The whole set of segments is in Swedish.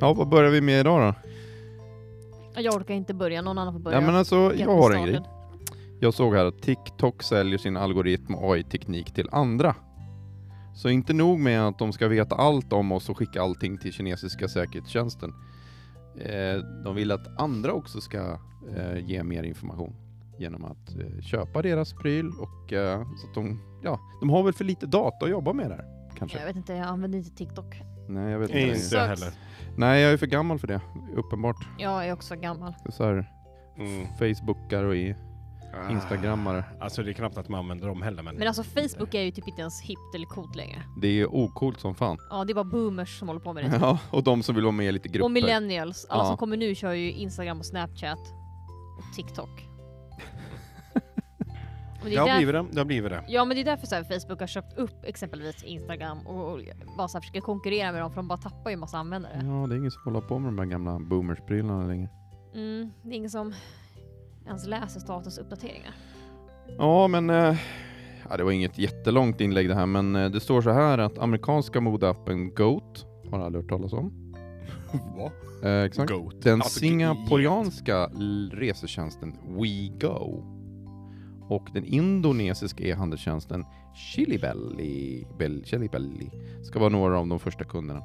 Ja, vad börjar vi med idag då? Jag orkar inte börja, någon annan får börja. Ja, men alltså, Get jag me har en started. grej. Jag såg här att TikTok säljer sin algoritm och AI-teknik till andra. Så inte nog med att de ska veta allt om oss och skicka allting till kinesiska säkerhetstjänsten. Eh, de vill att andra också ska eh, ge mer information genom att eh, köpa deras pryl och eh, så att de, ja, de har väl för lite data att jobba med där kanske. Jag vet inte, jag använder inte TikTok. Nej, jag vet Inte. inte. Sucks. Inte heller. Nej, jag är för gammal för det, uppenbart. Jag är också gammal. Så här, Mm. Facebookar och i- instagrammare. Ah, Alltså det är knappt att man använder dem heller men... Men alltså Facebook är ju typ inte ens hippt eller coolt längre. Det är okult som fan. Ja, det är bara boomers som håller på med det. Ja, och de som vill vara med i lite grupper. Och millennials. Alla Ja. som kommer nu kör ju Instagram och Snapchat och TikTok. Och det Det är har där- blivit det, det har blivit det. Ja men det är därför så här, Facebook har köpt upp exempelvis Instagram och, och bara så här, försöker konkurrera med dem för de bara tappar ju massa användare. Ja, det är ingen som håller på med de där gamla boomersprylarna längre. Mm, det är ingen som ens läser statusuppdateringar. Ja, men eh, ja, det var inget jättelångt inlägg det här, men eh, det står så här att amerikanska modeappen Goat har aldrig hört talas om. Va? Eh, exakt. Goat. Den Alltså, singaporeanska l- resetjänsten WeGo och den indonesiska e-handelstjänsten Chilibelli, Bell, Chilibelli ska vara några av de första kunderna.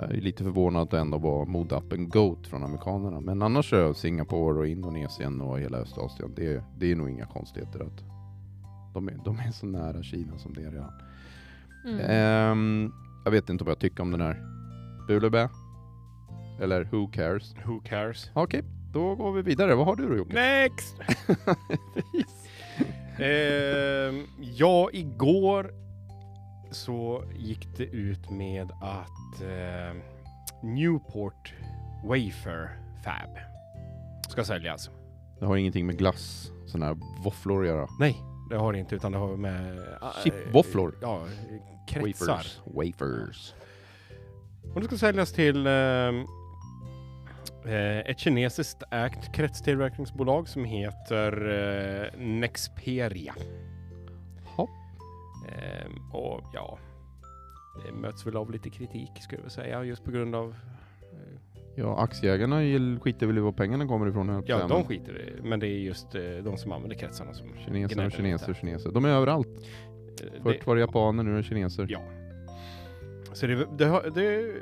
Jag är lite förvånad att det ändå var modeappen Goat från amerikanerna, men annars är Singapore och Indonesien och hela Östasien, det är, det är nog inga konstigheter att de är, de är så nära Kina som det är redan. Mm. Ehm, jag vet inte vad jag tycker om den här. Bulebä? Eller Who cares? Who cares? Okej, då går vi vidare. Vad har du då Jocke? Next! Ehm, ja, igår så gick det ut med att eh, Newport Wafer Fab ska säljas. Det har ingenting med glass, sådana här våfflor att göra. Nej, det har det inte utan det har med... eh, Chipvåfflor. Ja, kretsar. Wafers. Wafers. Och det ska säljas till ehm, eh, ett kinesiskt ägt kretstillverkningsbolag som heter eh, Nexperia. Ja. Ehm, och ja, det möts väl av lite kritik skulle jag säga just på grund av eh, Ja, aktieägarna gill- skiter väl i var pengarna kommer ifrån. höll jag på Ja, att säga, de men skiter i det, men det är just eh, de som använder kretsarna som Kineser gnäller och lite. kineser och kineser. De är överallt. Eh, Först var det japaner, nu är det kineser. Ja. Så det, det, har- det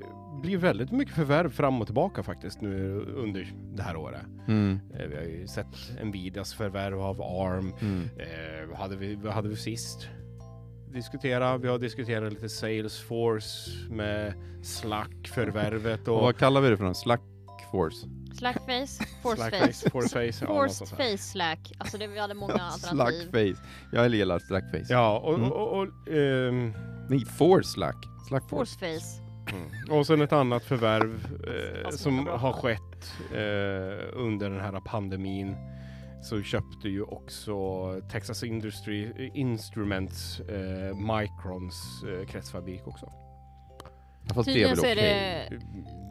blir väldigt mycket förvärv fram och tillbaka faktiskt nu under det här året. Mm. Eh, Vi har ju sett Nvidias förvärv av ARM. Mm. Eh, vad, hade vi, vad hade vi sist? Diskutera. Vi har diskuterat lite Salesforce med Slack-förvärvet Och och vad kallar vi det för någon? Slack force? Slackface, forceface, Slackface, Forceface. ja, något forced sånt där. face slack. Alltså det, vi hade många alternativ. Slackface. Jag gillar slackface. Ja, och, Mm. och, och, ehm, Nej, force slack. Slack force. Forceface. och sen ett annat förvärv eh, Alltså, som bra. har skett eh, under den här pandemin så köpte ju också Texas Industry eh, Instruments eh, Microns eh, kretsfabrik också. Fast det är Tydligen väl så okej? är det...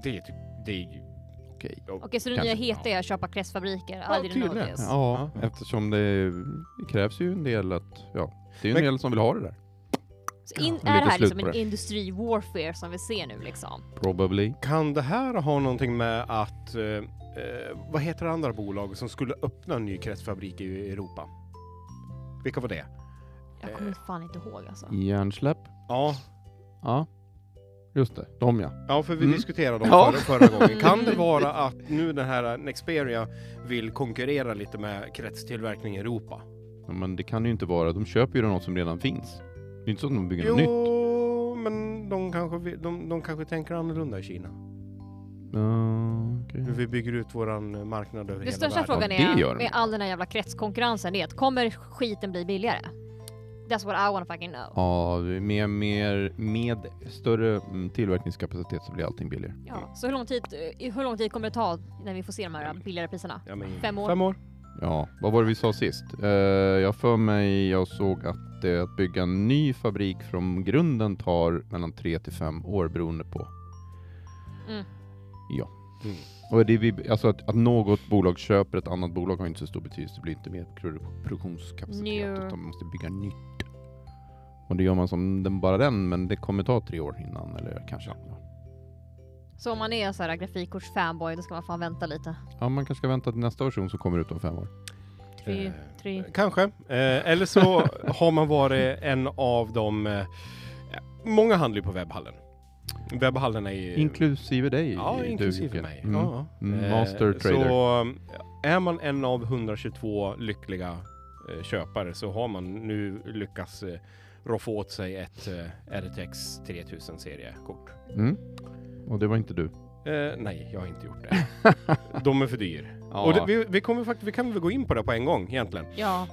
Det är typ, det är ju... Okej. Ja, Okej, så det nya Kanske. heta är att köpa krästfabriker? I didn't know tydligen. this. Ja, eftersom det, det krävs ju en del att, ja, det är ju en Men- del som vill ha det där. Så in, Lite är det här slut liksom på en det. industri-warfare som vi ser nu liksom? Probably. Kan det här ha någonting med att, eh, eh, vad heter det andra bolag som skulle öppna en ny kretsfabrik i Europa? Vilka var det? Jag kommer fan inte ihåg alltså. Hjärnsläpp. Ja, Ja. Just det, de ja. ja för vi Mm. diskuterade dem Ja. förra, förra gången. Kan det Mm. vara att nu den här Nexperia vill konkurrera lite med kretstillverkning i Europa? ja. Men det kan ju inte vara, de köper ju något som redan finns. Det är inte så att de bygger Jo, något nytt. men de kanske, vill- de, de kanske tänker annorlunda i Kina. Uh, Hur vi bygger ut våran marknad över Den hela största världen. frågan Ja, det gör är, de. med all den här jävla kretskonkurrensen, det är att kommer skiten bli billigare? That's what I wanna fucking know. Ja, med, mer, med större mm, tillverkningskapacitet så blir allting billigare. Ja, så hur lång, tid, eh, hur lång tid kommer det ta när vi får se de här Mm. billigare priserna? Ja, men- Fem år? Fem år. Ja, vad var det vi sa sist? Eh, jag för mig, jag såg att eh, att bygga en ny fabrik från grunden tar mellan tre till fem år beroende på. Mm. Ja. Mm. Och det, vi- alltså att, att något bolag köper ett annat bolag har inte så stor betydelse. Det blir inte mer produ- produktionskapacitet Njö. utan man måste bygga nytt. Och det gör man som den, bara den, men det kommer ta tre år innan eller kanske. Ja. Så om man är så här grafikkorts-fanboy då ska man fan vänta lite. Ja, man kanske ska vänta till nästa version som kommer ut om fem år. Tre, Eh, tre. Kanske. Eh, eller så har man varit en av de... Eh, många handlar ju på webbhallen. Webbhallen är ju... Inklusive dig. Eh. ja, du, inklusive Jocke. mig. Mm. Ja. Mm, Eh, master trader. Så eh, är man en av 122 lyckliga eh, köpare så har man nu lyckats eh, roffa åt sig ett eh, RTX 3000 seriekort. Mm. Och det var inte du. Eh, nej, jag har inte gjort det. De är för dyr. Och det, vi, vi, kommer fakt- vi kan väl gå in på det på en gång egentligen. Ja,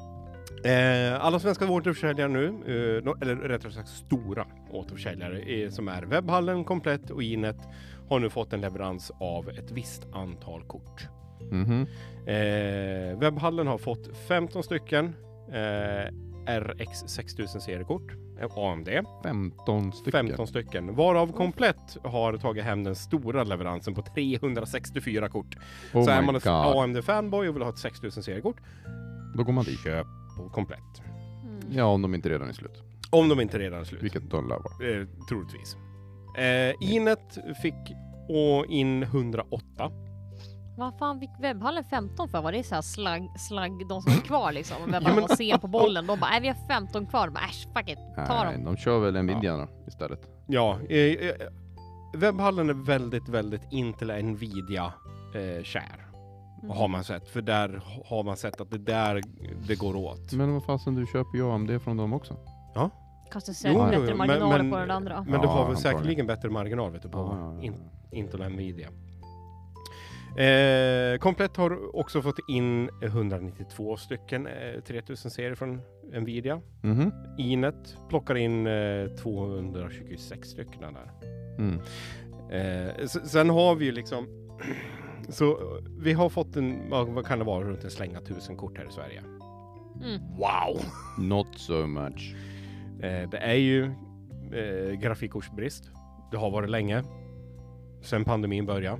Eh, alla svenska återförsäljare nu, eh, no- eller rättare sagt stora återförsäljare eh, som är Webbhallen, Komplett och Inet har nu fått en leverans av ett visst antal kort. Mhm. Eh, webbhallen har fått 15 stycken eh, RX 6000 seriekort, eh, AMD, 15 stycken. 15 stycken, varav Komplett har tagit hem den stora leveransen på 364 kort. Oh Så är my man ett God. AMD-fanboy och vill ha ett 6000 seriekort, Då går man dit. köp på Komplett. mm. Ja, om de inte redan är slut. Om de inte redan är slut. Vilket de lär vara. Eh, troligtvis. Eh, Inet fick å- in 108. Vad fan fick webbhallen 15 för? Var det så här slagg, slagg, de som är kvar liksom? Webbhallen men- var sen på bollen. De bara, nej vi har 15 kvar. De bara, äsch fuck it, ta Nej, dem. de kör väl Nvidia då, istället. Ja, eh, eh, webbhallen är väldigt, väldigt Intel Nvidia eh, kär. Mm. Har man sett, för där har man sett att det där det går åt. Men vad fasen, du köper ju AMD från dem också. Kostar Jo, säkert jo, bättre men- marginaler men- på den andra. Men du Ja, har väl antagligen. säkerligen bättre marginal vet du, på Ja, ja, ja. In- Intel Nvidia. Eh, Komplett har också fått in 192 stycken eh, 3000 serier från Nvidia. Mhm. Inet plockar in eh, 226 stycken där. Mm. Eh, s- sen har vi ju liksom så eh, vi har fått en, vad, vad kan det vara, runt en slänga tusen kort här i Sverige. Mm. Wow! Not so much. Eh, det är ju eh, grafikkortsbrist. Det har varit länge. Sen pandemin började.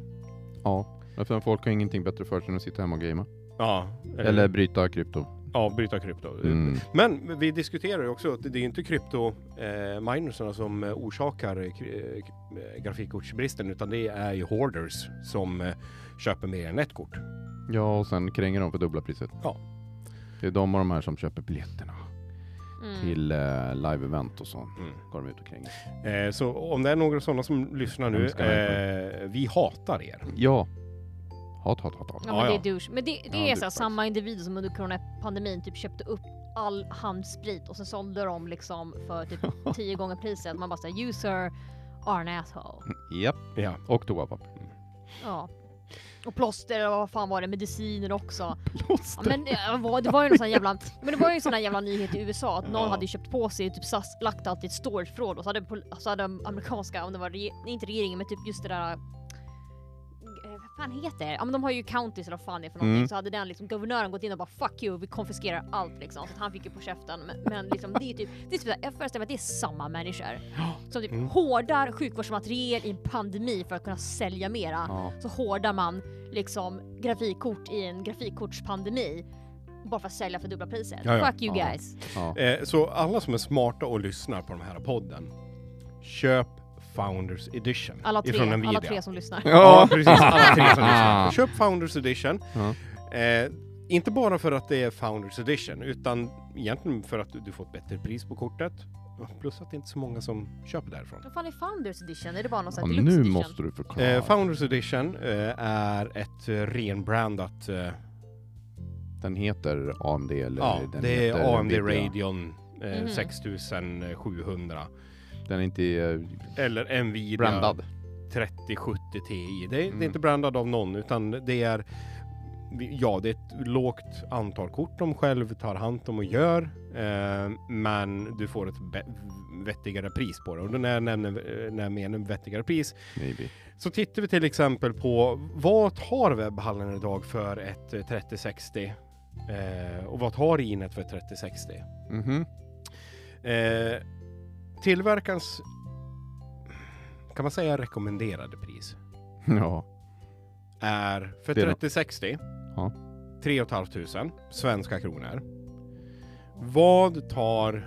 Ja, eftersom folk har ingenting bättre för sig än att sitta hemma och gamea. Ja, eh, Eller bryta krypto. ja, bryta krypto. Mm. Men vi diskuterar ju också att det är ju inte krypto-minerserna som eh, orsakar eh, kry- eh, k- eh, grafikkortsbristen utan det är ju hoarders som eh, köper mer än ett kort. Ja, och sen kränger de för dubbla priset. Ja. Det är de och de här som köper biljetterna Mm. till eh, live-event och sånt. Går de ut och kränger. Eh, Så om det är några sådana som lyssnar nu, Hemska människor. eh, vi hatar er. Mm. Ja. Hat, hat, hat, hat. Ja, Ja, men det ja. är douche. Men det, det Ja, är så här, douche samma individ som under coronapandemin typ köpte upp all handsprit och sen sålde de liksom för typ tio gånger priset. Man bara såhär, you sir are an asshole. Japp. Ja. Och toapapper. Ja. Och plåster och vad fan var det, mediciner också. Ja, men eh, vad- det var ju någon sån här jävla, men det var ju en sån här jävla nyhet i USA att någon Ja. hade ju köpt på sig, typ SAS, lagt allt i ett storageförråd och så hade, pol- så hade de amerikanska, om det var reg- nej, inte regeringen men typ just det där eh, vad fan heter det? Ja men de har ju counties eller vad fan det är för någonting. Mm. Så hade den liksom, guvernören gått in och bara fuck you, vi konfiskerar allt liksom. Så att han fick ju på käften. Men, men liksom, det är ju typ, det är typ, så här, jag föreställer mig att det är samma människor. Som typ Mm. hårdar sjukvårdsmateriel i en pandemi för att kunna sälja mera Ja. så hårdar man liksom grafikkort i en grafikkortspandemi bara för att sälja för dubbla priset. Ja, ja. Fuck you Ja. guys. ja. Eh, Så alla som är smarta och lyssnar på den här podden, köp Founders Edition Alla ifrån tre, Nvidia. alla tre som lyssnar. Ja, precis. Alla tre som lyssnar. Köp Founders Edition. Ja. Eh, inte bara för att det är Founders Edition, utan egentligen för att du får ett bättre pris på kortet. Plus att det inte är så många som köper därifrån. Vad fan är Founders edition? Är det bara någon sån ja här deluxe nu edition? måste du förklara. Eh, Founders Edition eh, är ett eh, renbrandat... Eh, Den heter AMD eller ja, den det heter är AMD Nvidia. Radeon eh, Mhm. 6700. Den är inte eh, Eller Nvidia brandad. 3070 Ti. Det, är- Mm. det är inte brandad av någon, utan det är... Ja, det är ett lågt antal kort de själv tar hand om och gör. Eh, men du får ett be- vettigare pris på det. Och när jag, nämner, eh, när jag menar vettigare pris Maybe. Så tittar vi till exempel på vad har webbhallen idag för ett eh, 3060 eh, och vad har Inet för ett 3060? Mhm. Eh, tillverkarens kan man säga rekommenderade pris Ja. är för Det är nå- 3060 Ja. 3 500 svenska kronor. Vad tar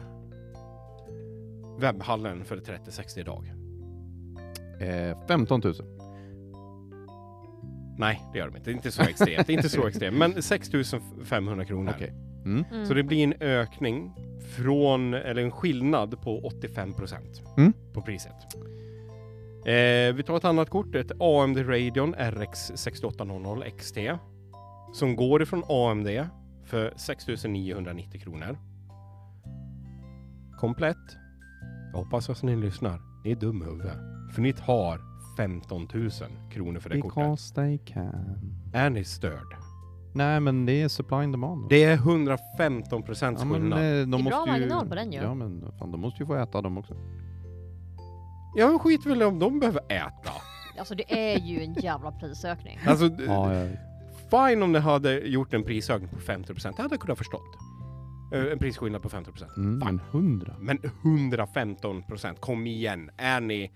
webbhallen för ett 3060 idag? Eh, 15 000. Nej, det gör de inte. Det är inte så extremt. Det är inte så extremt. Men 6 500 kronor. Okej. Mm. Mm. Så det blir en ökning från, eller en skillnad på 85 procent Mm. på priset. Eh, vi tar ett annat kort, ett AMD Radeon RX 6800 XT som går ifrån AMD för 6990 kronor. Komplett. Jag hoppas att ni lyssnar. Ni är dumhuvud. För ni tar 15 000 kronor för det kortet. Because they can. Är ni störd? Nej, men det är supply and demand. Det är 115 procents ja, men, skillnad. eh, de är bra måste ju... marginal på den ju. Ja, men fan, de måste ju få äta de också. Ja, men skit väl om de behöver äta. Alltså det är ju en jävla prisökning. Alltså, Ja, ja. fine om det hade gjort en prisökning på 50 procent. Det hade jag kunnat förstått. Eh, En prisskillnad på 50 procent. Mm, men hundra. Men 115 procent, kom igen. Är ni...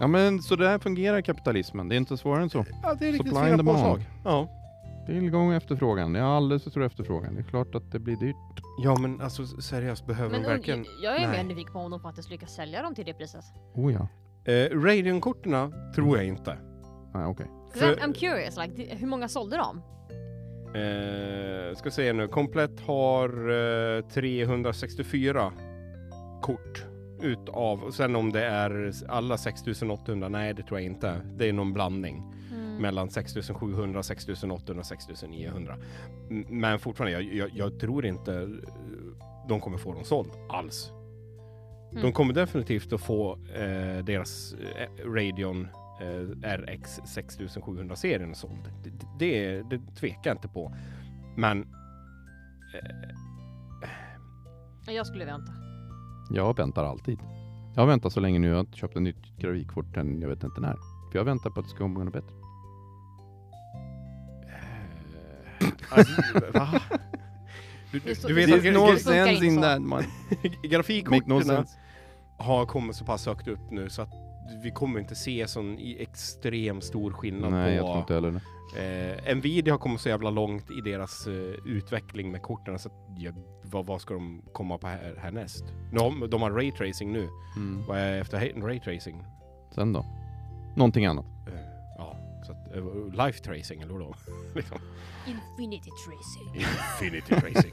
Ja, men så där fungerar kapitalismen. Det är inte svårare än så. Ja, det är riktigt Supply fina and demand. påslag. Ja. Tillgång och efterfrågan. Jag har alldeles för stor efterfrågan. Det är klart att det blir dyrt. ja, men alltså seriöst, behöver Men de verkligen... und- jag är Nej. mer nyfiken på om de faktiskt lyckas sälja dem till det priset. Oh ja. Eh, Radeon-korten tror jag inte. Nej, okej. För- För... I'm curious, like, det- hur många sålde de? Eh, ska se nu, Komplett har eh, 364 kort utav, och sen om det är alla 6800, nej det tror jag inte. Det är någon blandning Mm. mellan 6700, 6800, 6900. M- Men fortfarande, jag, jag, jag tror inte eh, de kommer få dem såld alls. Mm. De kommer definitivt att få eh, deras eh, Radeon eh, RX 6700-serien såld. Det, det, det tvekar jag inte på. Men Jag skulle vänta. Jag väntar alltid. Jag har väntat så länge nu. Jag har inte köpt ett nytt grafikkort än jag vet inte när. För jag väntar på att det ska komma något bättre. alltså, va? Du, Det är så- du det vet är att så- gra- det funkar inte så. man. gra- Make no grafikkorten sense. har kommit så pass högt upp nu så att vi kommer inte se sån i extrem stor skillnad Nej, jag tror på... inte heller det. Eh, Nvidia har kommit så jävla långt i deras eh, utveckling med korten så att, ja, vad, vad ska de komma på här, härnäst? De, de har raytracing nu. Mm. Vad är efter he- raytracing? Sen då? Någonting annat. Eh, ja, så att, eh, life tracing eller vadå? liksom. Infinity tracing. Infinity tracing.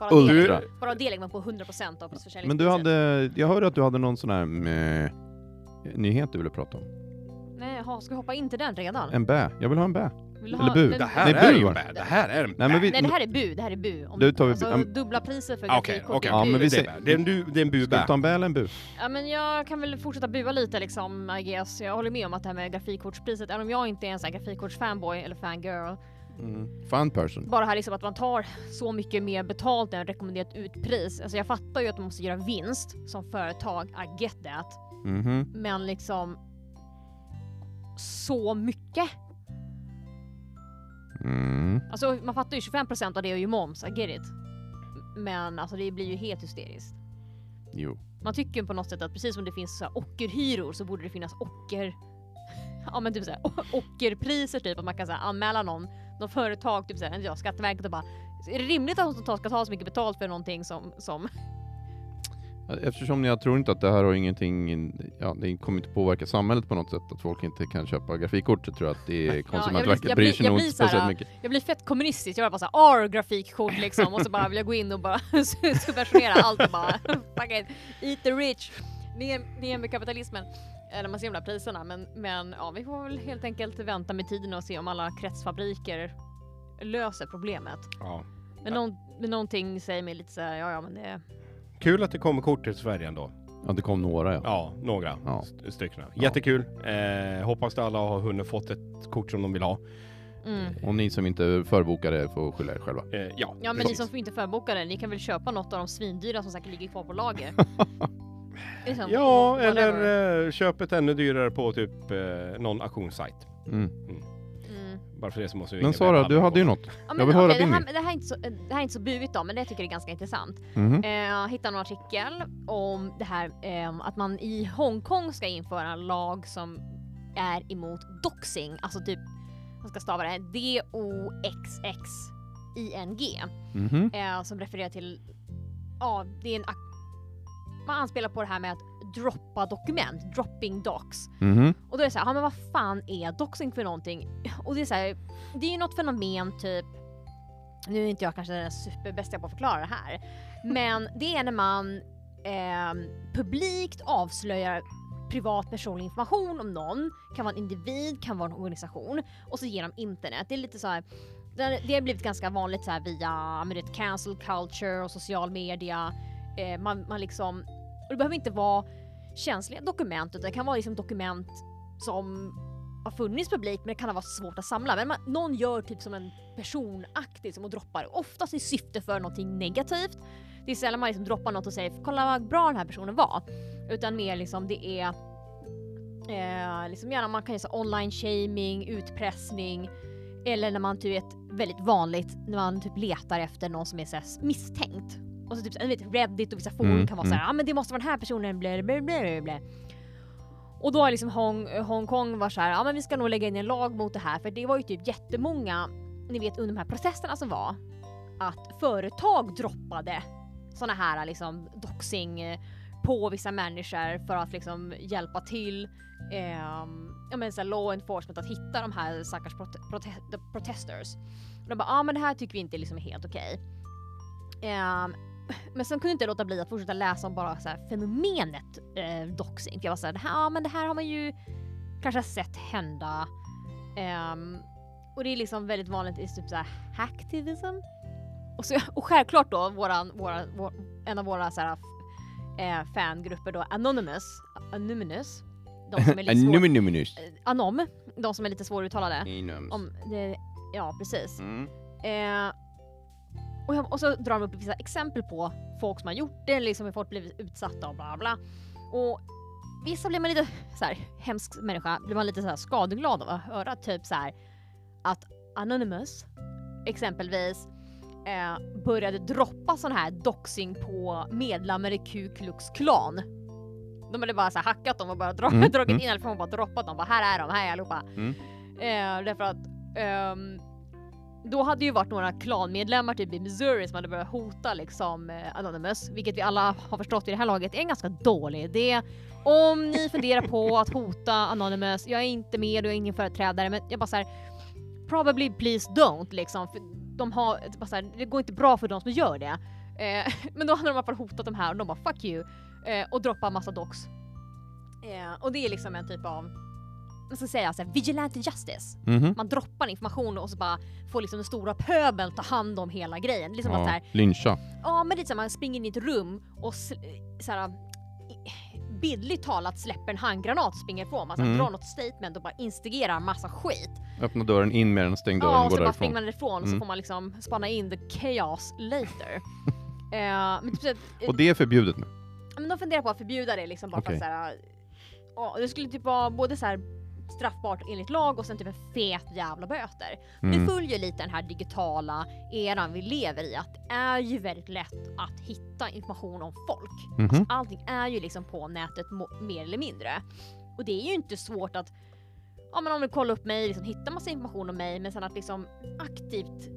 Bara det, Ultra. bara det lägger man på 100% av Men försäljningspriset. du hade... Jag hörde att du hade någon sån här... meh, nyhet du ville prata om. Nej, jaha, ska vi hoppa in till den redan? En bä. Jag vill ha en bä. Vill du eller bud. den- det här Nej, är bu ju var en det. bad. Det här är en Nej, men vi, Nej, det här är bu. Det här är bu. Om, Nu tar vi bu- alltså, am- dubbla priset för Ah, Okej, grafikkort okej. är Ja, bu. men vi Det är säger- bad. Det är en du- det är en Ska vi bubä. ta en bä eller en bu? Ja, men jag kan väl fortsätta bua lite liksom, I guess. Jag håller med om att det här med grafikkortspriset, även om jag inte är en sån här grafikkortsfanboy eller fangirl, Mm. Fun person. bara här liksom att man tar så mycket mer betalt än rekommenderat utpris. Alltså jag fattar ju att man måste göra vinst som företag, I get that. Mhm. Men liksom så mycket. Mm. Alltså man fattar ju 25% av det är ju moms, I get it. Men alltså det blir ju helt hysteriskt. Jo. Man tycker ju på något sätt att precis som det finns så här ockerhyror så borde det finnas ocker... Ja men typ såhär ockerpriser typ att man kan så här anmäla någon, något företag, typ såhär, ja, Skatteverket och bara är det rimligt att de tar- ska ta så mycket betalt för någonting som, som Eftersom jag tror inte att det här har ingenting, ja, det kommer inte påverka samhället på något sätt att folk inte kan köpa grafikkort så tror jag att det är Konsumentverket jag blir- bryr sig jag nog blir inte så här, speciellt mycket. Jag blir fett kommunistisk, jag bara såhär R-grafikkort liksom och så bara vill jag gå in och bara subventionera allt och bara fuck it, eat the rich, ner, ner med kapitalismen. Eh, När man ser de där priserna men, men ja, vi får väl helt enkelt vänta med tiden och se om alla kretsfabriker löser problemet. Ja. Men, någon, men någonting säger mig lite såhär, ja ja men det... Kul att det kommer kort till Sverige ändå. Ja, det kom några ja. Ja, några Ja. st- stycken. Ja. Jättekul. Eh, hoppas att alla har hunnit fått ett kort som de vill ha. Mm. Och ni som inte förbokade får skylla er själva. Eh, ja, Ja men ni precis. som inte förbokade, ni kan väl köpa något av de svindyra som säkert ligger kvar på lager? Det är sant. Ja, Whatever. eller eh, köp ett ännu dyrare på typ eh, någon auktionssajt. Mm. Mm. Bara för det så måste vi Men ringa Sara, Webhallen du hade ju på. något. Ja, Jag vill höra okej, din det, här, det, här är inte så, det här är inte så buigt då, men det tycker jag är ganska intressant. Mhm. Eh, jag hittade någon artikel om det här eh, att man i Hongkong ska införa en lag som är emot doxing, alltså typ, jag ska stava det här, D-O-X-X-I-N-G, Mhm. eh, som refererar till, ja, det är en ak- man anspelar på det här med att droppa dokument, dropping docs. Mhm. Och då är det så här, ja men vad fan är doxing för någonting? Och det är så här, det är ju något fenomen typ, nu är inte jag kanske den superbästa på att förklara det här, men det är när man ehm, publikt avslöjar privat personlig information om någon, kan vara en individ, kan vara en organisation, och så genom internet. Det är lite så här, det det har blivit ganska vanligt så här via men du vet, cancel culture och social media. Eh, man, man liksom, och det behöver inte vara känsliga dokument utan det kan vara liksom dokument som har funnits publikt men det kan ha varit svårt att samla. Men man, någon gör typ som en personaktig som och droppar, oftast i syfte för någonting negativt. Det är sällan man liksom droppar något och säger kolla vad bra den här personen var. Utan mer liksom det är eh, liksom gärna man kan göra så här online shaming, utpressning eller när man typ vet väldigt vanligt när man typ letar efter någon som är så här misstänkt. Och så typ så här, ni vet Reddit och vissa forum Mm, kan vara så här, ja ah, men det måste vara den här personen, blä, blä, blä, blä, blä. Och då har liksom Hong, Hongkong var så här, ja ah, men vi ska nog lägga in en lag mot det här för det var ju typ jättemånga, ni vet under de här processerna som var, att företag droppade såna här liksom doxing eh, på vissa människor för att liksom hjälpa till ehm, ja men så här law enforcement att hitta de här stackars prote- prote- the protesters. Och de bara ah, men det här tycker vi inte är liksom helt okej. Ehm, men sen kunde inte jag låta bli att fortsätta läsa om bara så här fenomenet eh, doxing. För jag var såhär, ja men det här har man ju kanske sett hända. Ehm, och det är liksom väldigt vanligt i typ såhär hacktivism. Och, så, och självklart då våran, våran, vår, en av våra så här, eh, fangrupper då, Anonymous. Anonymous. De som är lite svår, Eh, Numinus. anom, de som är lite svåruttalade. Inums. Om, det, ja precis. Mm. Eh, och, jag, och så drar de upp vissa exempel på folk som har gjort det, liksom hur folk blivit utsatta och bla bla. Och vissa blir man lite så här, hemsk människa, blir man lite så här skadeglad av att höra typ så här att Anonymous exempelvis eh, började droppa sån här doxing på medlemmar i Ku Klux Klan. De hade bara så här hackat dem och bara dra- Mm, dragit mm. in information och bara droppat dem. Bara, här är de, här är allihopa. Mm. Eh, därför att ehm, då hade ju varit några klanmedlemmar typ i Missouri som hade börjat hota liksom eh, Anonymous, vilket vi alla har förstått i det här laget är en ganska dålig idé. Om ni funderar på att hota Anonymous, jag är inte med och jag är ingen företrädare, men jag bara så här, probably please don't liksom. För de har, det bara så här, det går inte bra för de som gör det. Eh, men då hade de i alla fall hotat de här och de bara fuck you eh, och droppat massa docs. Eh, och det är liksom en typ av, man ska säga så här, vigilante justice Mhm. man droppar information och så bara får liksom den stora pöbeln ta hand om hela grejen. Liksom att så Ja, här, lyncha. ja men lite så här, man springer in i ett rum och sl- eh, så här, i- bildligt talat släpper en handgranat och springer ifrån. Man så här, Mm. drar något statement och bara instigerar massa skit. Öppna dörren, in med den, stäng dörren, Ja, gå och så bara därifrån. springer man därifrån och så Mm. får man liksom spana in the chaos later. Eh, men typ så att, Och det är förbjudet nu. Ja, Men de funderar på att förbjuda det liksom bara Okej. för att såhär, ja, det skulle typ vara både så här straffbart enligt lag och sen typ en fet jävla böter. Mm. Det följer lite den här digitala eran vi lever i att det är ju väldigt lätt att hitta information om folk. Mhm. Alltså, allting är ju liksom på nätet mo- mer eller mindre. Och det är ju inte svårt att ja, men om du kollar upp mig, liksom, hitta massa information om mig men sen att liksom aktivt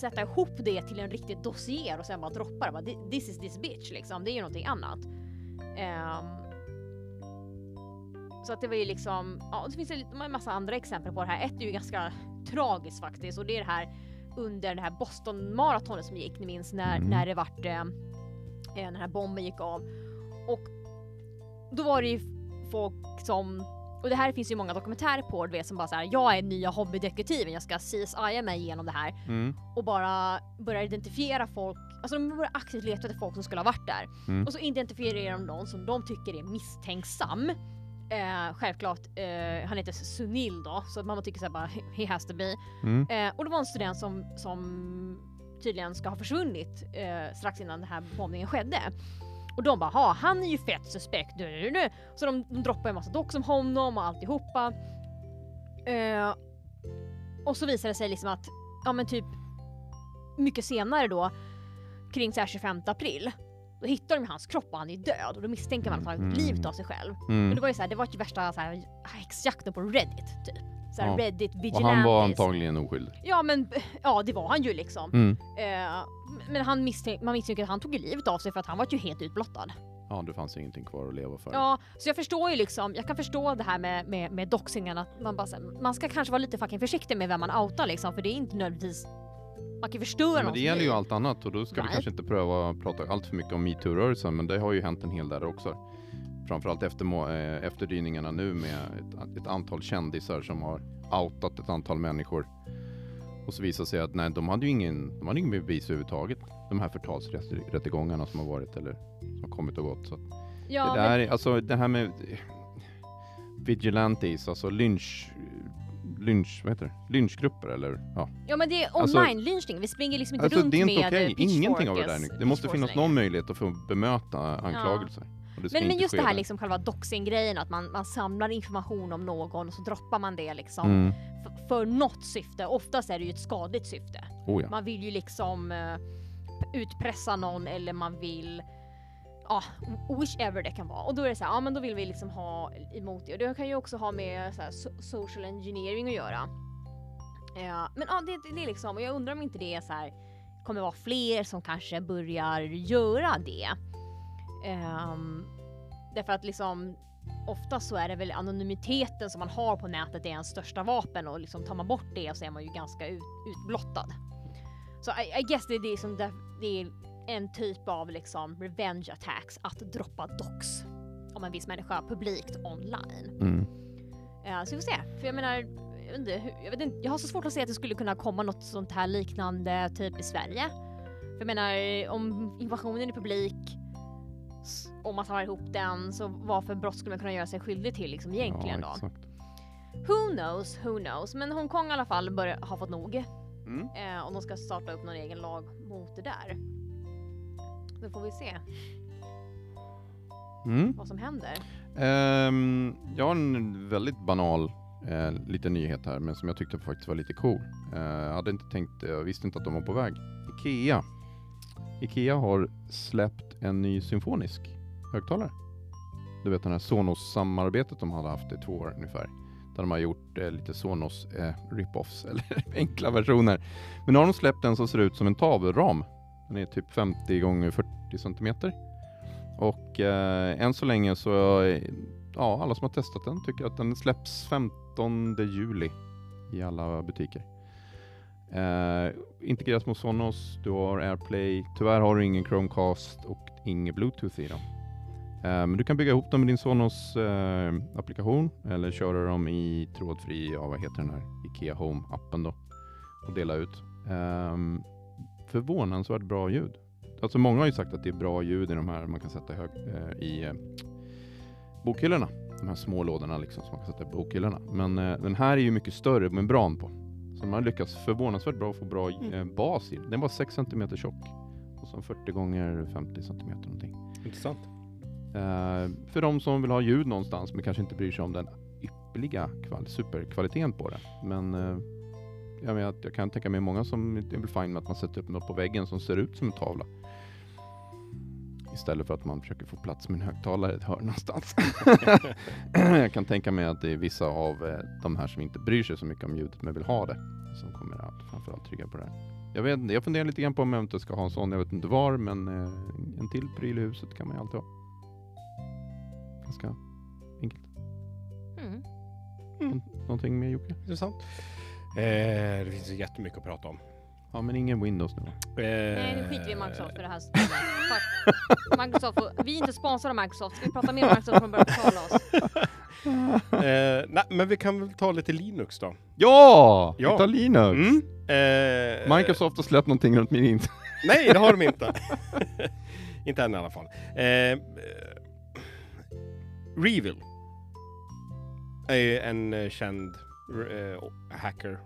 sätta ihop det till en riktig dossier och sen bara droppa det. Bara, "Thi- this is this bitch liksom. Det är ju någonting annat. Ehm, så att det var ju liksom, ja och det finns en en massa andra exempel på det här. Ett är ju ganska tragiskt faktiskt och det är det här under det här Boston maratonet som gick, ni minns när, Mm. när det vart eh, eh, den här bomben gick av. Och då var det ju folk som och det här finns ju många dokumentärer på du vet som bara såhär, jag är nya hobbydetektiven, jag ska CSI mig igenom det här Mm. och bara börjar identifiera folk, alltså de börjar aktivt leta efter folk som skulle ha varit där. Mm. Och så identifierar de någon som de tycker är misstänksam. Eh, självklart, eh, han heter Sunil då, så att mamma tycker såhär bara he has to be. Mm. Eh, och det var en student som, som tydligen ska ha försvunnit eh, strax innan den här bombningen skedde. Och de bara ha han är ju fett suspekt. Du, du, du. Så de, de droppar en massa docs om honom och alltihopa. Eh, och så visar det sig liksom att, ja men typ mycket senare då, kring så här 25 april, då hittar de hans kropp och han är död och då misstänker man att han har tagit Mm. livet av sig själv. Men Mm. det var ju såhär, det var ju värsta så här, häxjakten på Reddit typ. Så här Ja. Reddit Och vigilantes. han var antagligen oskyldig. Ja men ja det var han ju liksom. Mm. Eh, men han misstänk, man misstänker att han tog ju livet av sig för att han var ju helt utblottad. Ja, det fanns ingenting kvar att leva för. Ja, så jag förstår ju liksom, jag kan förstå det här med, med, med doxingen att man bara så här, man ska kanske vara lite fucking försiktig med vem man outar liksom för det är inte nödvändigtvis, man kan ju förstöra Ja, men någons det gäller ju liv. allt annat och då ska vi Nej. kanske inte pröva att prata allt för mycket om metoo-rörelsen men det har ju hänt en hel del där också. Framförallt efter må- eh, efterdyningarna nu med ett, ett antal kändisar som har outat ett antal människor. Och så visar det sig att nej, de hade ju ingen, de hade ingen bevis överhuvudtaget. De här förtalsrättegångarna som har varit eller som har kommit och gått. Så att Ja, det, men- där, är- alltså, det här med eh, vigilantes, alltså lynch, lynch, vad heter det? lynchgrupper eller ja, Ja men det är Alltså- online-lynchning, vi springer liksom inte Alltså runt det är inte med okej, pitchforkes- ingenting av det där nu. Det måste pitchforks finnas längre. någon möjlighet att få bemöta anklagelser. Och det ska Men, men inte just ske det här där. liksom själva doxing-grejen, att man, man samlar information om någon och så droppar man det liksom Mm. f- för något syfte. Oftast är det ju ett skadligt syfte. Oh, ja. Man vill ju liksom eh, utpressa någon eller man vill Ja, whichever det kan vara. Och då är det så här, ja men då vill vi liksom ha emot det. Och det kan ju också ha med så här, so- social engineering att göra. Eh, men ja, det, det är liksom, och jag undrar om inte det är så här, kommer vara fler som kanske börjar göra det. Ehm, därför att liksom ofta så är det väl anonymiteten som man har på nätet är ens största vapen och liksom tar man bort det så är man ju ganska ut, utblottad. Så I, I guess det är det som det, det är en typ av liksom revenge attacks att droppa docs om en viss människa publikt online. Mm. Eh, så vi får se. För jag menar, jag vet, inte, hur- jag vet inte, jag har så svårt att se att det skulle kunna komma något sånt här liknande typ i Sverige. För jag menar, om invasionen är publik, s- om man tar ihop den, så vad för brott skulle man kunna göra sig skyldig till liksom egentligen ja, då? exakt. Who knows, who knows. Men Hongkong i alla fall börjar, har fått nog Mm. eh, om de ska starta upp någon egen lag mot det där. Då får vi se Mm. vad som händer. Ehm, jag har en väldigt banal eh, liten nyhet här, men som jag tyckte faktiskt var lite cool. Eh, jag hade inte tänkt, jag visste inte att de var på väg. Ikea. Ikea har släppt en ny symfonisk högtalare. Du vet det här Sonos-samarbetet de hade haft i två år ungefär. Där de har gjort eh, lite Sonos eh, rip-offs, eller enkla versioner. Men nu har de släppt en som ser ut som en tavelram. Den är typ 50 gånger 40 centimeter. Och eh, än så länge så, eh, ja alla som har testat den tycker att den släpps 15 juli i alla butiker. Eh, integreras mot Sonos, du har AirPlay, tyvärr har du ingen Chromecast och ingen Bluetooth i dem. Eh, men du kan bygga ihop dem med din Sonos eh, applikation eller köra dem i trådfri, ja vad heter den här, IKEA Home-appen då och dela ut. Ehm, förvånansvärt bra ljud. Alltså många har ju sagt att det är bra ljud i de här man kan sätta hög, eh, i eh, bokhyllorna. De här små lådorna liksom som man kan sätta i bokhyllorna. Men eh, den här är ju mycket större membran på. Så man har lyckats förvånansvärt bra få bra eh, bas i den. Den var 6 cm tjock. Och sen 40 gånger 50 cm någonting. Intressant. Eh, för de som vill ha ljud någonstans men kanske inte bryr sig om den ypperliga kval- superkvaliteten på det. Men eh, jag, menar, att jag kan tänka mig många som inte är fine med att man sätter upp något på väggen som ser ut som en tavla. Istället för att man försöker få plats med en högtalare i ett hörn någonstans. jag kan tänka mig att det är vissa av eh, de här som inte bryr sig så mycket om ljudet men vill ha det som kommer att framförallt trygga på det här. Jag, vet, inte, jag funderar lite grann på om jag inte ska ha en sån, jag vet inte var, men eh, en till pryl i huset kan man ju alltid ha. Ganska enkelt. Eh, Mm. Någonting mer Jocke? Intressant. Eh, det finns ju jättemycket att prata om. Eh, Ja, men ingen Windows nu. Nej nu skiter vi i Microsoft för det här Fuck. Microsoft, får- vi är inte sponsrade av Microsoft, ska vi prata mer om Microsoft från början betala oss? Eh, nej, men vi kan väl ta lite Linux då. Ja! Ja. Vi tar Linux! Mm. Eh, Microsoft har släppt någonting runt min int. Nej, det har de inte. inte än i alla fall. Eh, eh, Revil är ju en eh, känd eh, hacker.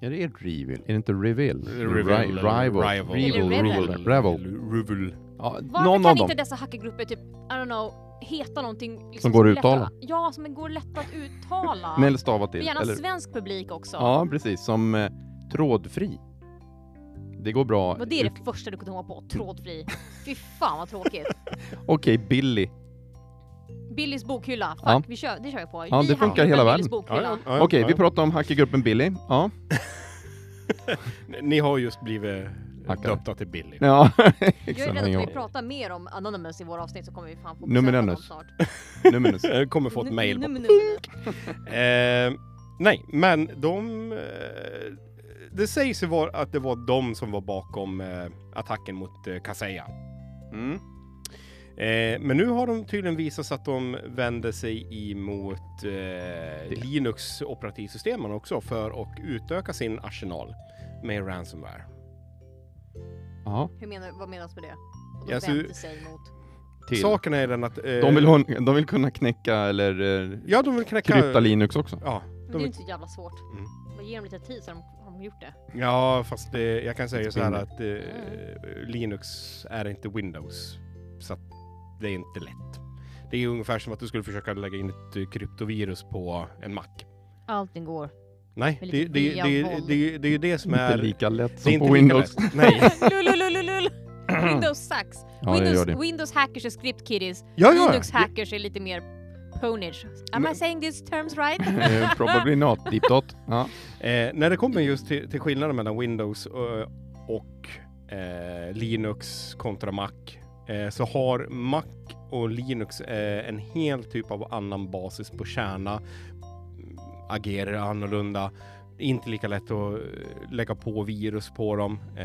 Är det Reveal? Är det inte Reveal? Reveal, eller Rival. Rival. Reveal. Eller Revel. Revel. Revel. Revil. Ja, Varför någon kan av inte dem. dessa hackergrupper typ, I don't know, heta någonting liksom, Som går är att uttala. lätt Ja, som går lätt att uttala. Nej, eller stavat Men till. gärna Eller, svensk publik också. ja, precis. Som eh, trådfri. Det går bra. Vad det är det första du kunde komma på, trådfri. Fy fan vad tråkigt. Okej, Billy. Billys bokhylla. Fuck, Ja. vi kör, det kör jag på. Ja, vi det funkar hackar upp hela Billys världen. bokhylla. Okej, vi pratar om hackergruppen Billy. Ja. Ni har just blivit Hackade. Hackade. döpta till Billy. ja. Jag är Exakt. rädd att vi Ja. pratar mer om Anonymous i våra avsnitt så kommer vi fan få Nummer besök av Anonymous. dem snart. Numinous. Jag kommer få ett Nu- mail. nummer Anonymous. Eh, nej, men de... Eh, det sägs ju var att det var de som var bakom eh, attacken mot eh, Kaseya. Mm. Eh, men nu har de tydligen visat sig att de vänder sig emot eh, Linux operativsystemen också för att utöka sin arsenal med ransomware. Ja. Hur menar, vad menas med det? Och de Ja, så- vänder sig mot. Till. Saken är den att... eh, De, vill ha, en- de vill kunna knäcka eller eh, Ja, de vill knäcka... krypta Linux också. Ja, Men de det är ju vill inte så jävla svårt. Mm. Bara ge dem lite tid så har de, har de gjort det. Ja, fast eh, jag kan säga så här Spinner. att eh, Linux är inte Windows. Så att det är inte lätt. Det är ungefär som att du skulle försöka lägga in ett eh, kryptovirus på en Mac. Allting går. Nej, Med det, det, lite det, det, via det, våld. det, är ju det som Inte är... lika lätt det är som inte på lika Windows. lätt. Nej. Lululululul. Windows sucks. Ja, det gör Windows, det. Windows hackers är script kiddies. Ja, ja. Linux hackers är lite mer ponage. Am Men- I saying these terms right? Eh, Probably not. Deep dot. Ja. Eh, när det kommer just till, till skillnaden mellan Windows eh, och eh, Linux kontra Mac eh, så har Mac och Linux eh, en hel typ av annan basis på kärna, mm, agerar annorlunda, inte lika lätt att eh, lägga på virus på dem. Eh,